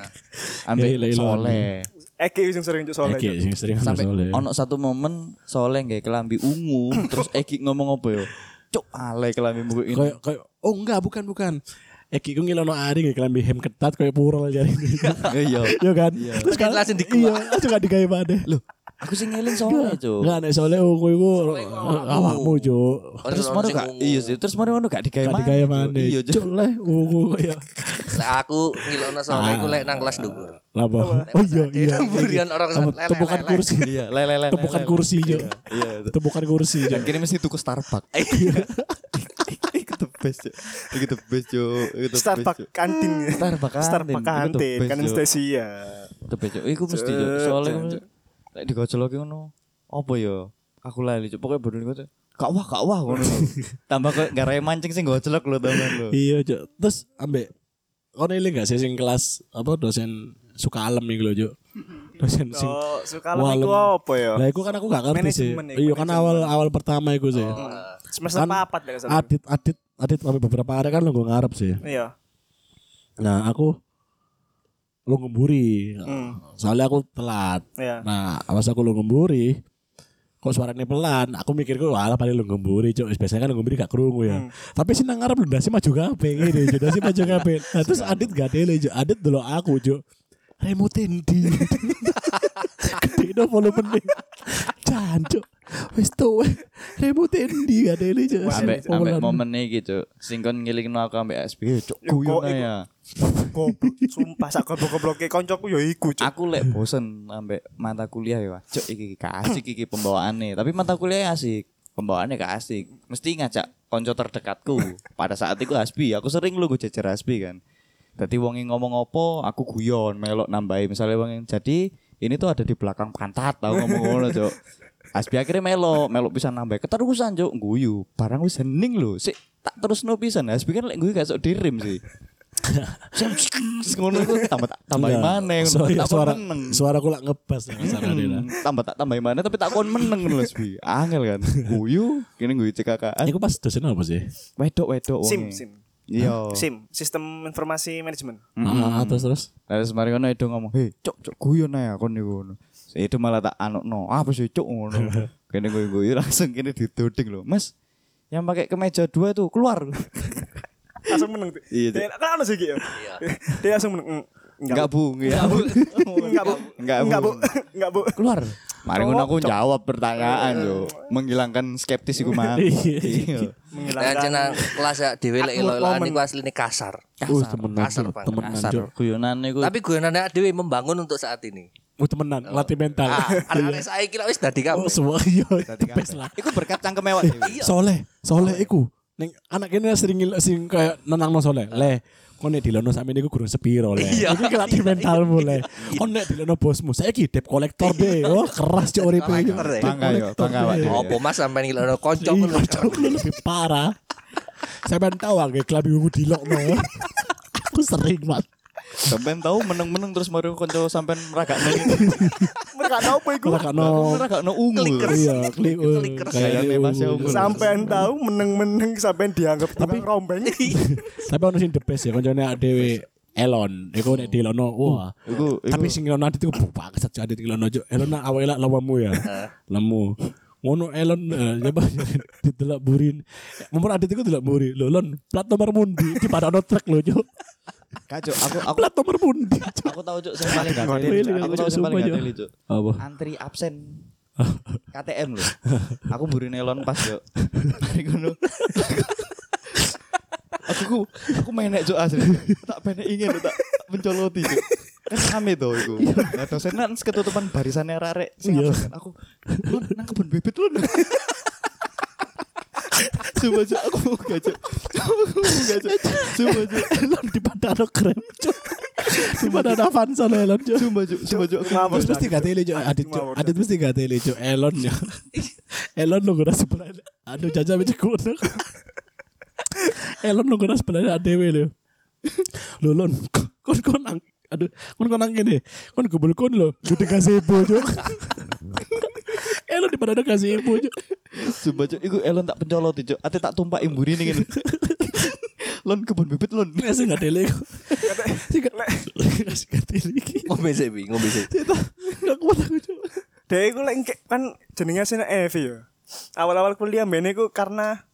Ambek
ilah, ilah.
soleh.
Eki sing sering cok sohel.
Oke, sing sering
Sampai
sampai
ono satu momen soleh gawe kelambi ungu, terus Eki ngomong apa ya? Cuk, ale kelambi ungu ini.
kayak kayak oh enggak bukan bukan Eki ku ngilono ari nggak kelambi hem ketat kayak purul jadi
Ya, Iya.
[LAUGHS] Iya kan? Terus
Kan langsung dikeluar.
Iya, langsung gak digawe maneh.
Loh, aku sing ngeling soleh, Cuk.
Enggak nek soalnya oh kowe iku awakmu, Cuk.
Terus
Orang
mari
sing
gak
ungu.
iya sih, terus mari ngono gak digawe
Gak digawe
maneh, Cuk.
maneh.
Iya,
Cuk
Cuk.
leh ungu kaya.
Lah Nah, aku ngilono sampe iku lek nang kelas dhuwur.
Lapa? Oh iya iya.
Pemberian orang
Sama
lele,
Tumpukan
lele.
kursi.
Iya, le le le.
Tumpukan kursi, Cuk.
Iya. Cuk. Iya.
Tumpukan kursi,
Dan
Cuk.
kini mesti tuku [LAUGHS] Starbucks. Iku the best, Cuk. Iku the best, Cuk. Iku the best, Cuk.
Starbucks kantin.
Starbucks kantin.
Starbucks
Itu
kantin.
the best,
Kantin
Cuk.
Stasia.
Tapi cok, iku mesti cok.
Cuk,
Soalnya
cuk,
aku
cuk.
lek digojoloki ngono. Apa ya? Aku lali cok. Pokoke bodol ngono. Kak wah, kak wah ngono. [LAUGHS] Tambah kok gak raya mancing sing gojlok lho teman lho.
Iya, Cuk. Terus ambek Kono ini gak sih sing kelas apa dosen suka alam iki lho, Cuk. Dosen sing
Oh, suka lek iku
Walem.
apa ya?
Lah iku kan aku gak ngerti sih.
Manajemen Oh, iku,
Iya kan awal awal pertama iku sih.
Semester
Kan
papat lek salah.
Adit adit adit sampai beberapa hari kan lu gue ngarep sih.
Iya.
Nah aku lu ngemburi.
Hmm.
Soalnya aku telat.
Iya.
Nah pas aku lu ngemburi kok suaranya pelan aku mikir kok wala paling lu ngemburi cok biasanya kan lu ngemburi gak kerungu
Hmm.
ya tapi sih nang ngarep lu ndase maju kabeh ngene cok ndase maju kabeh nah, terus adit gak dele cok adit dulu aku cok [LAUGHS] remote endi gede no volume nih jancuk Wis tuh ribut endi ada ini Cuk.
Ambek ambek
Omelan.
momen iki, Cuk. Sing kon ngelingno aku ambek SB, Cuk.
Ya, kok
Guyon ae
iku?
ya.
Goblok, sumpah sak goblok-gobloke koncoku ya iku, Cuk.
Aku lek bosen ambek mata kuliah ya, Cuk. Iki gak asik iki pembawaannya. Tapi mata kuliah ya asik. Pembawaannya gak asik. Mesti ngajak konco terdekatku. Pada saat itu Hasbi, aku sering lu gue jejer Hasbi kan. Tadi wongi ngomong opo, aku guyon, melok nambahi misalnya wongi. Jadi ini tuh ada di belakang pantat tau ngomong ngono, Cuk. Hasbi akhirnya melok, melok bisa nambah keterusan, Cuk. Guyu, barang wis hening lho. Sik tak terus no pisan. Hasbi kan lek guyu gak sok dirim sih. ngono iku tambah tambahin
Enggak.
maneh ngono.
Iya. [LAUGHS] Sorry,
Tambah
suara
meneng.
suara aku lak ngebas ya kasarane lah.
Hmm, tambah tak tambahin mana tapi tak kon meneng ngono lho Sbi. Angel kan. Guyu, kene guyu cekakaan.
Eh, Iku pas dosen apa sih?
Wedok-wedok wonge.
Sim, sim.
Iya.
SIM, sistem informasi manajemen.
Ah, terus terus.
Terus mari ngono Edo ngomong, "Hei, cok cok guyon ae kon niku ngono." Itu malah tak anokno. Apa sih cok
[LAUGHS]
ngono. Kene guyu-guyu langsung kene ditoding lho. Mas, yang pakai kemeja dua tuh keluar.
Langsung menang. Cuk.
Iya, Cuk.
Dia- Kan ono sih iki ya. [LAUGHS] Dia langsung menang. Mm,
Enggak, Bu. Enggak, Bu.
Enggak, Bu.
Enggak, Bu.
Enggak, Bu. [LAUGHS] Enggak, Bu.
Keluar. [LAUGHS] Mari ngono aku
Cok, cok.
jawab pertanyaan yo. Menghilangkan skeptis iku mah.
[LAUGHS]
Iya.
Lah jeneng kelas ya dhewe lek
Aku
ilo-iloan
momen.
iku asline kasar.
Uh, temenan.
kasar
Cuk.
banget,
Temenan.
kasar.
Cuk.
Guyonan iku
Tapi guyonane dhewe membangun untuk saat ini.
Uh, temenan, latih mental. [LAUGHS]
Ah, arek-arek saiki lek wis dadi
Oh,
kamu.
semua iya,
Dadi
the best
kabeh.
lah.
Iku berkat cangkem mewah.
Eh, soleh, soleh iku. Ning anak kene sering ngil- sing kayak nenangno soleh. Le, kon nek dilono sampe niku gurung sepiro le.
Iya.
Iku kelak di mentalmu le. Kon nek dilono bosmu, saiki debt collector deh. Oh, keras cuk uripe.
Collector,
Debt
ya.
Bangga yo,
collector,
bangga,
deh.
Pak.
Opo Mas sampean iki lek kanca
Iya, cuk, lu lebih parah. Sampean tahu angge klabi wudu dilokno. Aku sering banget.
Sampean tahu meneng-meneng terus mari konco sampean ragakno
[LAUGHS]
iki.
Mereka tahu apa iku.
Ora no.
Ragakno ungu.
Clickers.
Iya, klik. uh,
Clickers.
kayak
Kayaknya
uh,
Mas ya,
uh.
unggul.
Sampean tahu meneng-meneng sampean dianggap tapi rombeng.
Tapi ono sing the best ya koncone awake dhewe Elon, iku nek dilono wah.
Iku- iku-
Tapi sing ngelono adit iku bubak saja adit ngelono jo. Elon nak awake lak lawamu ya. Lemu. Ngono Elon eh, coba [LAUGHS] didelok burin. Mumpun adit iku delok buri. Lho Elon, plat nomor mundi di padano trek lho jo.
Kacau, aku aku
Plat nomor mundi. Cuk.
aku tahu cuk sing paling gak teli.
Wih,
Aku
Cuk,
tahu sing paling gak
sumpah, Cuk.
teli cuk.
Apa?
Antri
[LAUGHS]
absen KTM lho. Aku mburi nelon pas
[LAUGHS]
cuk. Mari ngono. Aku aku, aku menek cuk asli. Tak penek ingin tak mencoloti cuk. Kan rame tuh iku. Nah dosen kan ketutupan barisannya rarek. Sing
Iya.
absen kan aku. Lon nang kebun bibit lon. Coba cuk aku gak cuk. Aku gak cuk. Coba cuk.
Elon di padano keren jo. Di padano Avanza lho Elon jo.
Coba cuk. Coba cuk. Aku
Mampus,
Terus mesti gak tele jo adit jo. Adit mesti gak tele jo Elon ya. Elon lu gue sebelah. Aduh jajah meja kuno. Elon lu gue sebelah ada lo. Lo lon kon kon nang. Aduh kon kon nang gini. Kon gubul kon lo. Gede kasih ibu jo. [LAUGHS] Elon di mana kasih ibu jo.
Sumpah cok, iku Elon tak pencoloti cok. Ate tak tumpak imburi nih [LAUGHS] ngene. lon kebun bibit lon.
Kasih gak tele. Sih gak Sih gak tele.
Ngombe sik Oh, Bi, ngombe sik.
Gak kuat aku jo.
Dia iku lek engke- kan jenenge sine Evi ya. Awal-awal kuliah mbene iku karena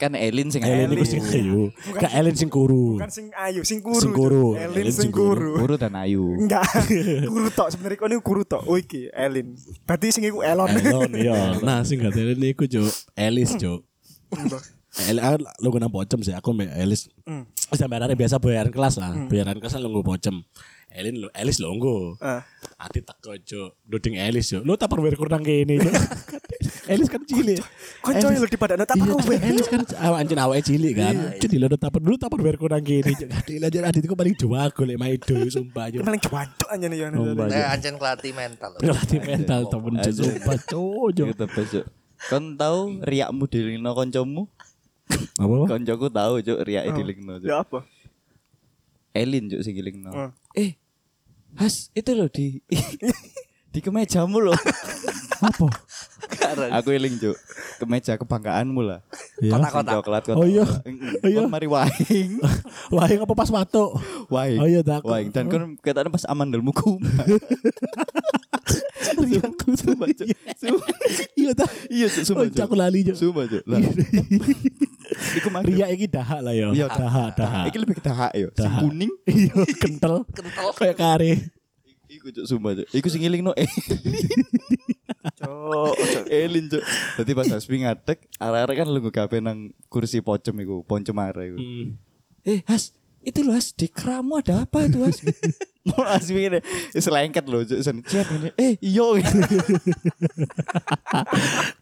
Kan Elin sing
Elon
ayu.
itu sing
[LAUGHS]
kayu. Kak Elon sing kuru.
kan sing ayu, sing kuru.
Sing
Cuk.
kuru.
Elin
Elin
sing
sing
kuru.
Guru dan ayu.
Enggak, [LAUGHS] kuru tok sebenarnya kau ini kuru tok. Oh iki Elin. Berarti sing iku Elon. [LAUGHS]
Elon iya. Nah sing gak tele niku Cuk. Elis Cuk.
[LAUGHS]
El aku lu kena bocem sih aku mbak Elis.
Hmm.
Wis sampe arek biasa bayaran kelas lah. Bayaran kelas lu nggo bocem. Elin lu Elis lu nggo.
Ah.
Ati teko Cuk. Duding Elis Cuk. Lu tupperware kurang kene
[LAUGHS]
Cuk. Elis kan cilik.
Kocoknya
Elis-
ya lu dipadakno
Iya,
tupperware.
Cuk. Elis kan awak anjen awake cilik kan.
Iya,
Jadi lu tupper dulu tupperware kurang kene
[LAUGHS]
Cuk. Adil aja adit iku paling dua aku lek maido sumpah Cuk.
Paling cuantuk aja nih yang
Sumpah, Cuk.
Nah, ancen kelati mental.
Relatif mental temen Cuk.
Anjing.
Sumpah Cuk. Cuk.
Gitu bes cok. Kon tau riakmu dilingno koncomu?
Apa? apa?
Koncoku tau cok riake dilingno cok.
Ya apa?
Elin cok sing dilingno.
Hmm.
Eh. Has, itu loh di
[LAUGHS]
di kemejamu loh.
Apa?
Aku eling cok. Kemeja kebanggaanmu lah.
Ya.
Sing coklat kotak.
Oh iya.
Mm-mm.
Oh iya.
Kon Mari waing.
Wahing apa pas watuk?
Waing.
Oh iya tak.
Waing. Dan kan katanya pas amandelmu kumat.
Sumpah, Cuk. [LAUGHS] Iya tak.
Iya, Cuk, sumpah,
Oh,
Cuk.
Aku lali Cuk.
Sumpah Cuk.
[LAUGHS]
Lah. Iku mari.
Ria iki dahak lah ya.
Iya,
dahak, dahak.
Iki lebih dahak yo. Sing
Dahak.
kuning.
Iya, kental.
Kental.
Kayak kare.
Iku Cuk, sumpah Cuk. Iku sing ngelingno eh.
Cuk, cuk.
[LAUGHS] Elin cuk. Dadi pas Hasbi ngadeg, arek-arek kan lungguh kabeh nang kursi pocem iku, poncem arek iku.
Hmm.
Eh, Has, itu loh Has, di keramu ada apa itu
[LAUGHS]
Has? [LAUGHS] Mau Hasbi ngene, selengket loh cuk. Sen, siapa ini? Eh,
[LAUGHS]
iyo gitu.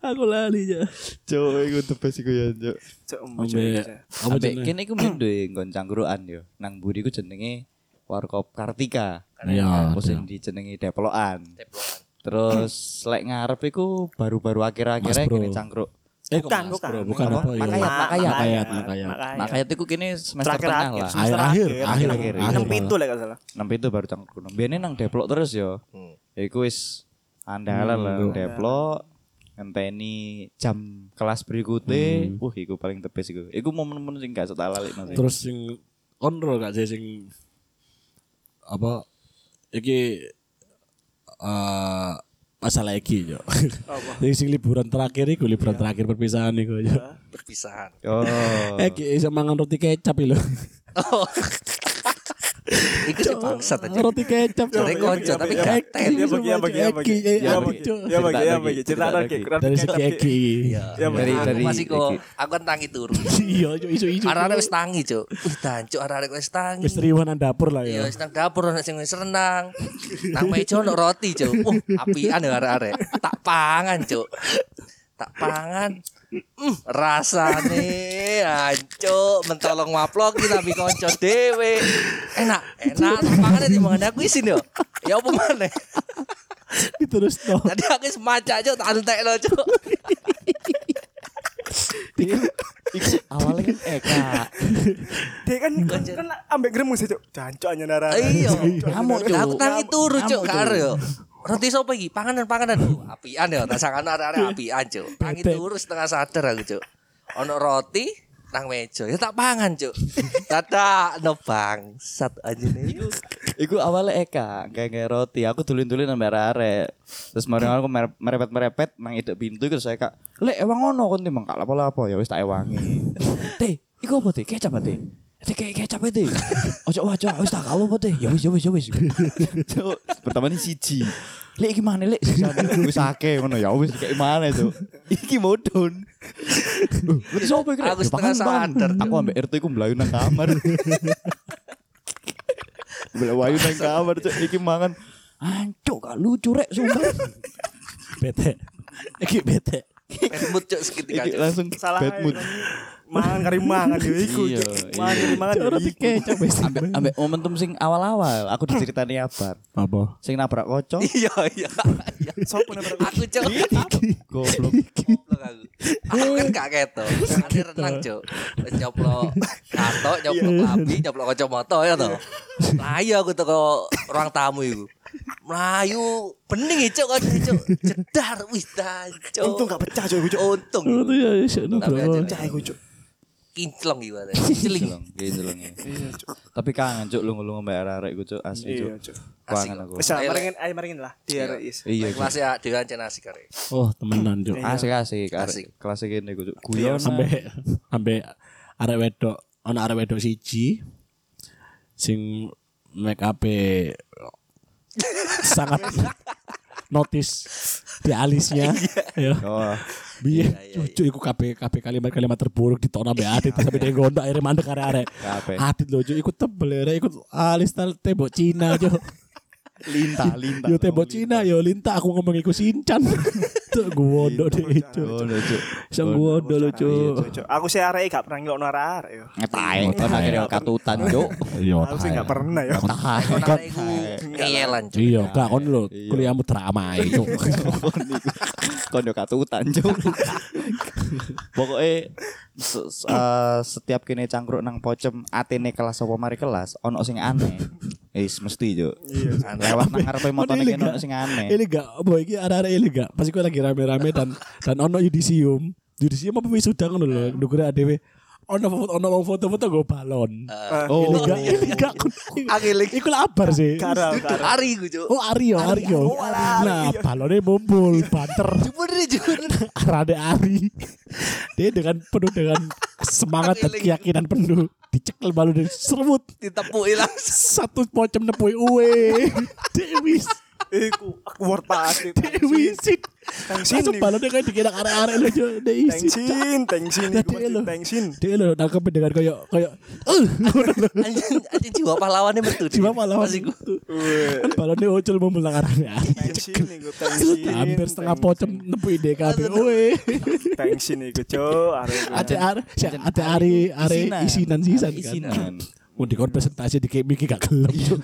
Aku lali ya.
Cuk, iku the best iku ya, cuk.
Cuk, embo, cuk,
Ambe
cuk.
apa
Ambek
jenenge?
kene iku men duwe nggon cangkruan yo. Nang buri ku jenenge Warkop Kartika.
Iya,
Terus yang dijenengi Deplokan. Terus lek ngarep iku baru-baru akhir-akhirnya
Mas Bro.
kene cangkruk.
Eh, kok
Bukan,
Mas
bukan.
Bro? bukan
Apa?
apa ya?
Makayat, makayat.
makayat, makayat.
Makanya itu kini semester
Terakhir
tengah
akhir,
lah.
semester
Akhir, akhir,
akhir,
Enam
akhir.
pintu lah kalau salah.
Nampi itu baru cangkruk. Biasanya nang deplok terus yo. Ya iku wis andalan
Hmm,
lah nang deplok. Ngenteni jam kelas berikutnya. Wah, iku paling tebes iku. Iku momen-momen sing gak setelah lalik nanti.
Hmm. Terus sing kontrol gak sih sing apa iki eh masalah iki yo. Jadi [LAUGHS] sing liburan terakhir iku liburan
Iya.
terakhir perpisahan iku yo.
Perpisahan.
Oh.
Eh ki iso mangan roti kecap lho.
Oh. [LAUGHS] Iku sih bangsat aja.
[LAUGHS] Roti kecap.
Jadi konco tapi
Eki,
gak tel.
Ya bagi, ya bagi, ya bagi.
Eki, eh,
Ya
apa,
bagi,
Cuk?
ya bagi, ya
Cerita
bagi.
lagi,
Cerita
cerita
lagi.
lagi.
Roti
Dari
kecap,
segi
Ki.
Eki.
Iya.
Dari
Aku
dari
masih
iki.
kok aku kan tangi turu.
Iya, yo iso iso.
Arek-arek wis tangi, Cuk. Ih, dancuk arek-arek wis tangi.
Wis riwanan dapur lah ya.
Iya, wis nang dapur ana sing wis renang. Nang meja ono roti, Cuk. Wah, apian ya arek-arek. Tak pangan, Cuk. Tak pangan. Mm, rasane ancuk mentolong waploki tapi kanca dhewe. Enak, enak. Tak Pangan di mangan aku isin yo. Ya apa maneh?
[LAUGHS] Terus to.
Tadi aku wis maca, Cuk, tak entekno, Cuk.
Iku iku awalnya kan Eka.
Dia kan kan ambek gremes ya, Cuk. Jancuk hanya darah.
Iya.
Ngamuk, Cuk.
Aku tangi turu
Ngamuk, Cuk.
cuk karo yo. Roti sopo iki? Panganan-panganan. Oh, apian ya, tak sangkano arek-arek apian cuk. Tangi turu setengah sadar aku cuk. Ono roti nang meja. Ya tak pangan
[LAUGHS]
cuk. Tadak no bangsat anjene.
Iku awalnya Eka, kayak kayak roti. Aku tulin-tulin nang arek Terus mari aku mere- merepet-merepet nang idek pintu iku terus Eka, "Lek ewang ono kon timbang gak lapo-lapo ya wis tak [LAUGHS] ewangi." Teh, iku apa teh? Kecap teh. Teh kayak kecap e, teh. Ojo ojo wis tak kalu apa teh. Ya wis ya wis ya wis. [LAUGHS] Cuk, Pertama ini siji. Lek iki mana lek? Sisane Wis akeh ngono ya wis kayak mana itu. [LAUGHS] Iki [LAUGHS] modon. Terus sopo iki?
Aku
Ya,
setengah
pangan,
sadar,
pangan. Aku ambek RT iku mlayu nang [LAUGHS] kamar. Bila wayu nang kamar cuk iki mangan ancuk gak lucu rek sumpah.
Bete. Eki bete.
Mut cuk seketika
Iki
cuk.
langsung
Salah.
bad mood.
Mangan kari mangan yo iku.
Iya,
Cuk.
iya.
Mangan kari mangan yo
Roti
iku.
kecap wis.
Ambek ambek momentum sing awal-awal aku diceritani Abar.
Apa?
Sing nabrak kocok
Iya, iya. iya.
Sopo nang roti?
Aku cuk.
goblok.
Goblok aku. Aku kan gak keto.
Gitu.
Ane renang, Cuk. Wis Nyoplok katok,
Iya.
nyoplok labi, nyoplok kacamata ya to. Melayu aku teko ruang tamu iku. Melayu bening Cuk kan Cuk. Jedar wis dancuk.
Untung gak pecah, Cuk. iku, Cuk.
Untung.
Itu ya oh. iso
Tapi aja
nabrak.
Pecah iku, Cuk.
kinclong iku. ada. Celing.
Jelong, gini jelongnya. Tapi kangen cuk lungu-lungu mbak arek iku cuk asli
Iya,
cuk.
Cuk.
Kangen aku.
Wis lah, maringin ayo maringin lah. Dia is.
Iya. Cuk.
Kelas ya dhewean cen asik kare.
Oh, temenan, Cuk.
Asik asik
Asik.
arek kelas gini iku cuk. Guyon
ambek
Nah.
ambek arek wedok ana arek wedok siji sing make up e
[LAUGHS]
sangat notice di alisnya ya
Oh, iya.
biye cucu iku kabeh kabeh kalimat-kalimat terburuk ditokno ambek Adit sampai dia gondok akhirnya mandek arek-arek
Kabeh.
Adit lho Cuk, iku tebel ya, arek iku alis tal- tembok Cina
[LAUGHS]
Cuk.
lintah lintah.
yo tembok
gitu.
Cina yo linta aku ngomong iku
[LAUGHS]
sincan tuh gondok deh itu
Oh, lho, Cuk. Iya,
sang gondok lho Cuk.
Iya, Cuk, Cuk. Aku sih arek gak pernah ngelokno arek yo.
Ngetae, kon akhirnya katutan cuk.
Yo,
Aku sih gak pernah yo.
Tahan.
Kon arek iku ngeyelan Cuk.
Iya, gak kon lho, kuliahmu
[LAUGHS]
drama itu.
kon iku. kon yo katutan cuk pokoke se- se- eh, setiap kene cangkruk nang pocem atene kelas apa mari kelas ono sing aneh Is mesti cuk. Lewat nang ngarepe motone kene ono sing aneh.
Ini gak, boy, ini arah-arah ini gak. Pas gue lagi rame-rame dan dan ono yudisium. Yudisium apa wisuda ngono lho, ndukure adewe. Ono foto ono wong foto-foto go balon.
Oh,
Ini gak, ini gak. Angelik. Iku labar sih.
Karo
Iya.
karo.
Hari iku Cuk.
Oh Ari yo, Ari yo. Nah, balonnya mumbul, banter.
[LAUGHS] Jupur iki jupur.
Arade Ari. Dia dengan penuh dengan semangat dan keyakinan penuh. Dicekel balon dan seremut.
Ditepuki langsung.
satu pocem nepoi uwe [LAUGHS] Dewi
Iku aku war pasti.
Wisit.
Tengsin.
Langsung balonnya kayak dikira arek-arek lho Cuk. Dek isit.
Tengsin, tengsin.
Lah,
iku
dia lho.
pasti Tengsin.
Dia lho nangkep dengan kayak kayak eh ngono lho.
Anjing anjing jiwa pahlawannya betul. Dik.
Jiwa pahlawan.
Masih gua.
Weh,
Kan balonnya ucul membelang arek-arek.
Tengsin iku tengsin.
Hampir setengah
tengsin.
pocem nepi DKB. Woi.
Tengsin iku cok.
Iya.
arek iku.
Ada are, ada are are
Isinan.
isinan sisan
Are
kan.
isinan.
Mau di presentasi di KMI gak gelem. Cuk.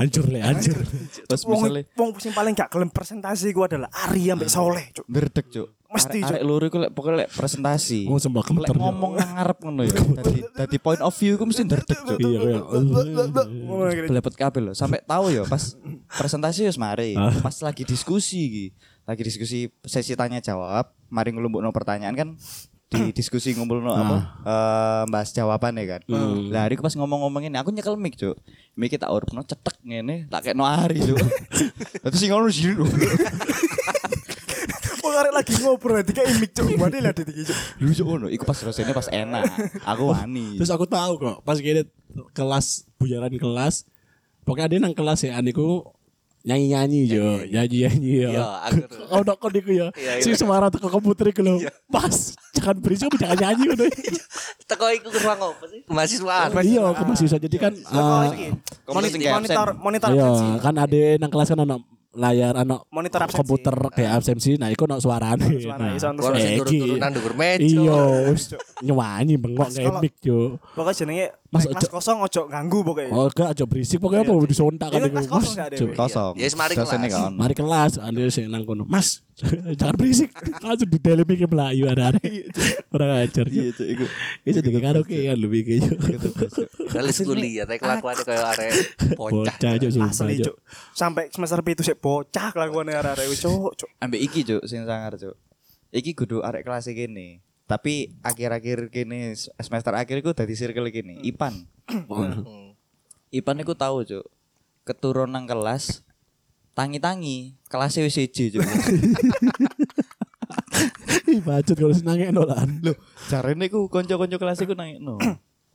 Hancur le, hancur.
Terus
Wong
misalnya
wong sing paling gak gelem presentasi gua adalah Ari ambek Soleh cok.
Berdek cuk.
Mesti, Cuk.
arek loro iku lek pokoke lek presentasi.
Wong sembah
Lek
kemeter. Cuk.
ngomong nang ngarep ngono ya. Dadi dadi point of view iku mesti nderdek cuk.
Iya kayak
Oh, kira-
Belepet kabel loh. Sampai tahu ya pas presentasi wis mari. Pas lagi diskusi iki. Lagi diskusi sesi tanya jawab, mari nglumpukno pertanyaan kan di diskusi ngumpulno apa eh bahas jawaban ya kan. Lah hari ku pas ngomong-ngomongin aku nyekel mic, Cuk. Mic tak urupno cetek ngene, tak kekno hari, Cuk. Terus sing ngono sih lho.
Wong arek lagi ngobrol nanti kayak imik cok. Wani lah detik iki, cok.
Lu Cuk ngono, iku pas rasanya pas enak. Aku wani.
Iya. Terus aku tahu kok pas kira kelas bujaran kelas pokoknya ada nang kelas ya aniku nyanyi nyanyi yo nyanyi nyanyi yo.
Iya, aku tuh.
[LAUGHS] Oh dok kau diku ya
Iya, iya.
si suara teko komputer iku lho. Pas jangan berisik kamu jangan nyanyi
[LAUGHS]
ngono.
Iya. Teko iku ke ruang apa sih? Mahasiswaan.
Iya aku masih bisa jadi kan
Iya.
Oh,
eh,
iki.
Komputer
Moni-
kayak
Monitor
absen.
monitor
iya
absensi.
kan ada nang kelas kan ono layar ono
Monitor absensi.
komputer kayak absensi nah iku ono suarane.
Suara
Nah.
iso terus.
Ono sing
Eh, iki.
turun-turunan dhuwur meja.
Iya, wis nyewanyi bengok kayak
kalau-
mic yo.
Pokoknya jenenge
Mas,
Mas
ojo-
kosong ojo ganggu pokoknya.
Oh, gak aja berisik pokoknya apa
Iya,
disontak kan
kan kelas kosong gak ada,
Cuk.
Wi.
Kosong.
Ya, wis mari
Dosennya
kelas.
gak ono.
Mari kelas, ada sing nang kono. Mas, [LAUGHS] jangan berisik. Langsung di dalam mikir melayu ada ada. Orang ajar.
Iya,
Iya,
Cuk, iku.
itu juga karaoke kan lebih kayaknya.
Kalis kuliah, tapi kelakuannya kayak arek bocah.
Bocah aja sumpah.
Asli
iya, Cuk.
cuk. Sampai semester itu sik bocah kelakuan arek-arek wis cuk cuk.
Ambek iki cuk sing sangar cuk. Iki kudu arek kelas kene. Tapi akhir-akhir kene semester akhir iku dadi circle kene, Ipan. Hmm. Ipan iku tahu cuk. Keturun nang kelas tangi-tangi kelasnya wis siji cuk.
Ih, bacot kalau senangnya nolan.
[LAUGHS] Jarene iku kanca-kanca kelas iku nangekno. [COUGHS]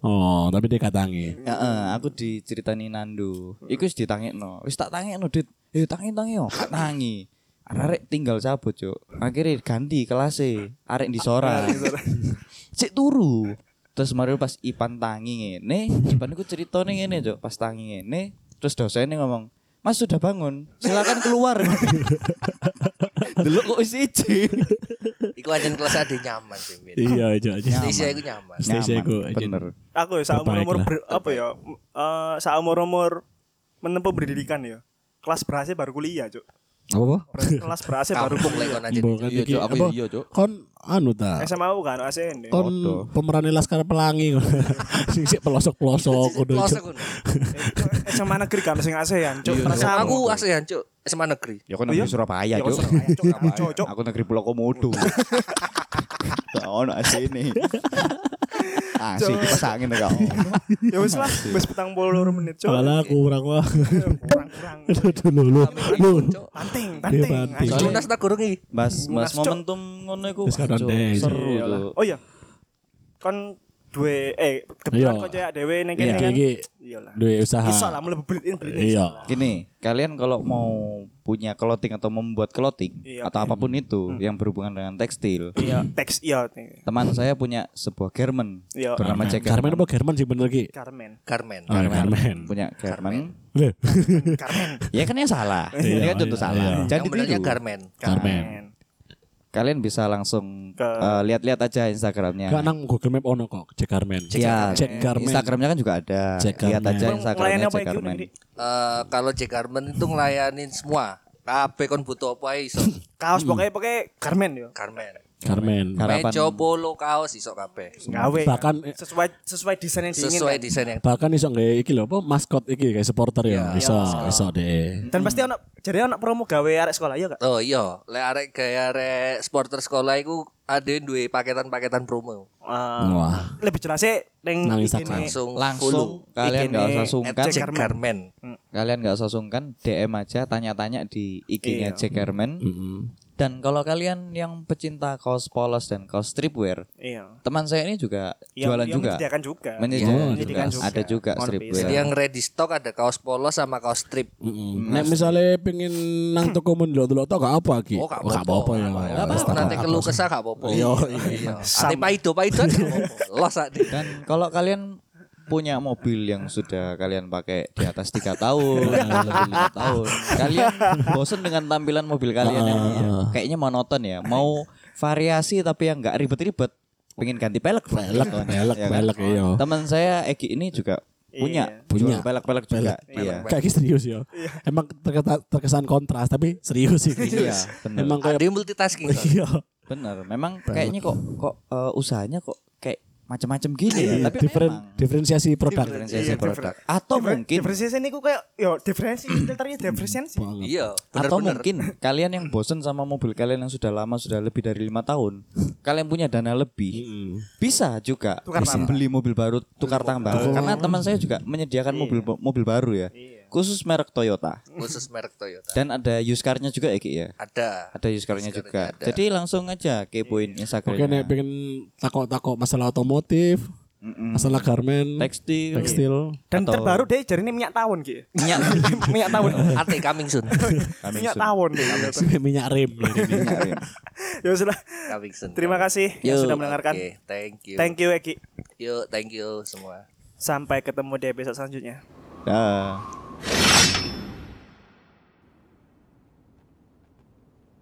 Oh, tapi dia katangi.
Heeh, aku diceritani Nando.
Hmm.
Iku wis ditangekno. Wis tak tangekno, Dit. Eh, tangi-tangi yo, gak tangi. Arek tinggal cabut, Cuk. Akhirnya ganti kelasnya Arek di Cek turu. Terus Mario pas Ipan tangi ngene, Ipan iku ceritane ngene, Cuk. Pas tangi ngene, terus dosennya ngomong, "Mas sudah bangun, silakan
[LAUGHS]
keluar." Delok kok wis iji.
Iku anjen kelas ade nyaman sih. Min.
Iya, aja aja.
Jadi saya iku nyaman.
Stay
Nyaman,
sego, Jen.
Bener.
Aku ya saumur umur
Terbaik
apa ya? Eh saumur umur menempuh pendidikan ya. Kelas berasnya baru kuliah
[LAUGHS]
cuk.
Apa?
Ber- Kelas berasnya baru
Kampung lek
kuliah.
kon anjen.
Bukan
Iya,
iki.
Cuk, aku
Apa?
iya, Cuk.
Kon anu ta.
SMA aku kan ASN.
Kon pemeran Laskar Pelangi. [LAUGHS] Sing sik pelosok-pelosok kudu. Cuk.
Kelas aku.
SMA negeri kan sing ASEAN cuk.
Iya,
Sama
Perasaan
aku ASEAN, Cuk. SMA negeri.
Ya kan negeri Surabaya,
Oh, Ya,
Cuk.
Surabaya, Cuk. Aku, Cuk, Cuk.
Aku negeri Pulau
[LAUGHS]
Komodo. Tak ono [LAUGHS] sini. Asik kipas angin ya kau.
Ya wis lah, wis petang puluh menit cuk.
Alah kurang wah.
Kurang-kurang.
[LAUGHS] Aduh, lu lu. Lu.
Cuk.
Panting,
Iya,
panting.
panting.
anjing.
Lunas tak gurung iki.
Mas mas
Lunas, Cuk.
momentum ngono iku
Wis kadang
Cuk,
deh, Cuk.
seru Cuk.
Oh iya. Kon duwe eh kebetulan
Iya.
kok cewek dhewe ning
Iya,
kene kan.
iki.
Iyalah.
Duwe usaha.
Bisa lah mlebu beliin beliin.
Iya.
Gini, kalian kalau mau punya clothing atau membuat clothing
Iya.
atau apapun itu yang berhubungan dengan tekstil.
Iya, teks iya. nih.
Teman saya punya sebuah garment
Iya.
bernama Jack
Garmen
Garment.
apa German sih bener ki?
Carmen.
Carmen.
Oh, Garmen.
Punya garment.
Lho, [LAUGHS]
Carmen.
Ya kan yang
[LAUGHS]
salah.
Iya,
Ini kan contoh
iya,
salah.
iya.
Jangan
Yang benernya
ditiru.
Carmen.
Garmen.
Kalian bisa langsung
Ke-
eh, lihat-lihat aja Instagramnya.
Gak nang Google Map ono kok, Jack Garmen.
Iya,
Ya, Jack Garmen.
Instagramnya kan juga ada.
Jack
Lihat
Garment.
aja
Emang
Instagramnya
ngelayanin apa
Jack
yang gitu,
Garment.
Dik?
Eh, kalau Jack Carmen itu ngelayanin semua. Kabeh kon butuh apa ae iso.
Kaos
Hmm.
pokoknya pokoknya Carmen yo.
Carmen.
Garmen.
Harapan-
Meja polo kaos iso kabeh.
Gawe.
Bahkan- eh,
sesuai sesuai desain yang diinginkan.
Sesuai desain yang
Bahkan iso nggak iki lho, apa maskot iki kayak supporter ya, iso iso deh.
Dan pasti anak jadi anak promo gawe arek sekolah ya kak.
Oh iya, lek arek gaya arek sporter sekolah iku ada duwe paketan-paketan promo.
Eh,
Wah,
lebih jelasnya ning
Nang
IG-ne.
Instagram.
Langsung
Langsung kalian
Ikini
nggak usah
follow
sungkan.
at Jack Carmen. Hmm.
Iya.
Kalian nggak usah sungkan DM aja tanya-tanya di IG-nya Jack Garment.
Mm.
Dan kalau kalian yang pecinta kaos polos dan kaos streetwear,
Iya.
teman saya ini juga
Yang-
jualan
yang
juga.
menyediakan juga.
Menyediakan
Iya,
juga.
menyediakan
Ada juga
Mohon
streetwear.
pisah.
Jadi yang ready stock ada kaos polos sama kaos strip.
mm. Nek misalnya pengen nang toko mendelo dulu tau gak apa ki?
Oh, gak
Gak
apa-apa.
apa-apa ya.
Gak apa-apa. Nanti keluh kesah gak apa-apa. Iya, iya. Ate paido paido gak apa-apa. Los [LAUGHS] ate.
Dan kalau kalian punya mobil yang sudah kalian pakai di atas tiga
[LAUGHS]
tahun, lebih lima tahun, kalian bosen dengan tampilan mobil kalian
Ah.
yang kayaknya monoton ya, mau variasi tapi yang nggak ribet-ribet, pengen ganti pelek,
Pelek, pelek,
Ya kan?
pelek iya.
Teman saya Egi ini juga punya,
Iya. Punya.
jual pelek-pelek juga, iya.
Kayak serius ya. Emang terketa- terkesan kontras tapi serius sih.
Iya, bener.
Emang kayak
Ade multitasking. Ton.
[LAUGHS] iya.
Bener, memang kayaknya kok kok eh, usahanya kok kayak macam-macam gini ya,
Iya,
tapi
Differen-
memang
diferensiasi produk.
diferensiasi produk. Atau mungkin
Diferensiasi ini kayak yo
[CLEARS THROAT]
diferensi filternya diferensiasi.
Iya,
atau [CLEARS THROAT]
bener-bener.
mungkin kalian yang bosen sama mobil kalian yang sudah lama sudah lebih dari lima tahun kalian punya dana lebih bisa juga bisa beli mobil baru tukar tambah karena teman saya juga menyediakan mobil mobil baru ya khusus merek Toyota
khusus merek Toyota.
dan ada used car-nya juga ya Ki ya
Ada.
ada Iya. used car-nya juga
Ada.
jadi langsung aja kepoin
Oke nek
Instagramnya
pengen takok-takok masalah otomotif, masalah garmen,
tekstil
tekstil.
Dan terbaru deh jadi ini minyak tawon gitu.
minyak
[LAUGHS] minyak tawon.
Ate coming [LAUGHS] soon.
Kami
minyak
sun-
tawon deh.
[LAUGHS] minyak rem.
minyak, ya.
[LAUGHS] Ya sudah.
Coming soon.
Terima kasih yang
Yo,
sudah mendengarkan.
Oke, thank you.
Thank you Eki.
Yuk, thank you semua.
Sampai ketemu di episode selanjutnya.
Dah.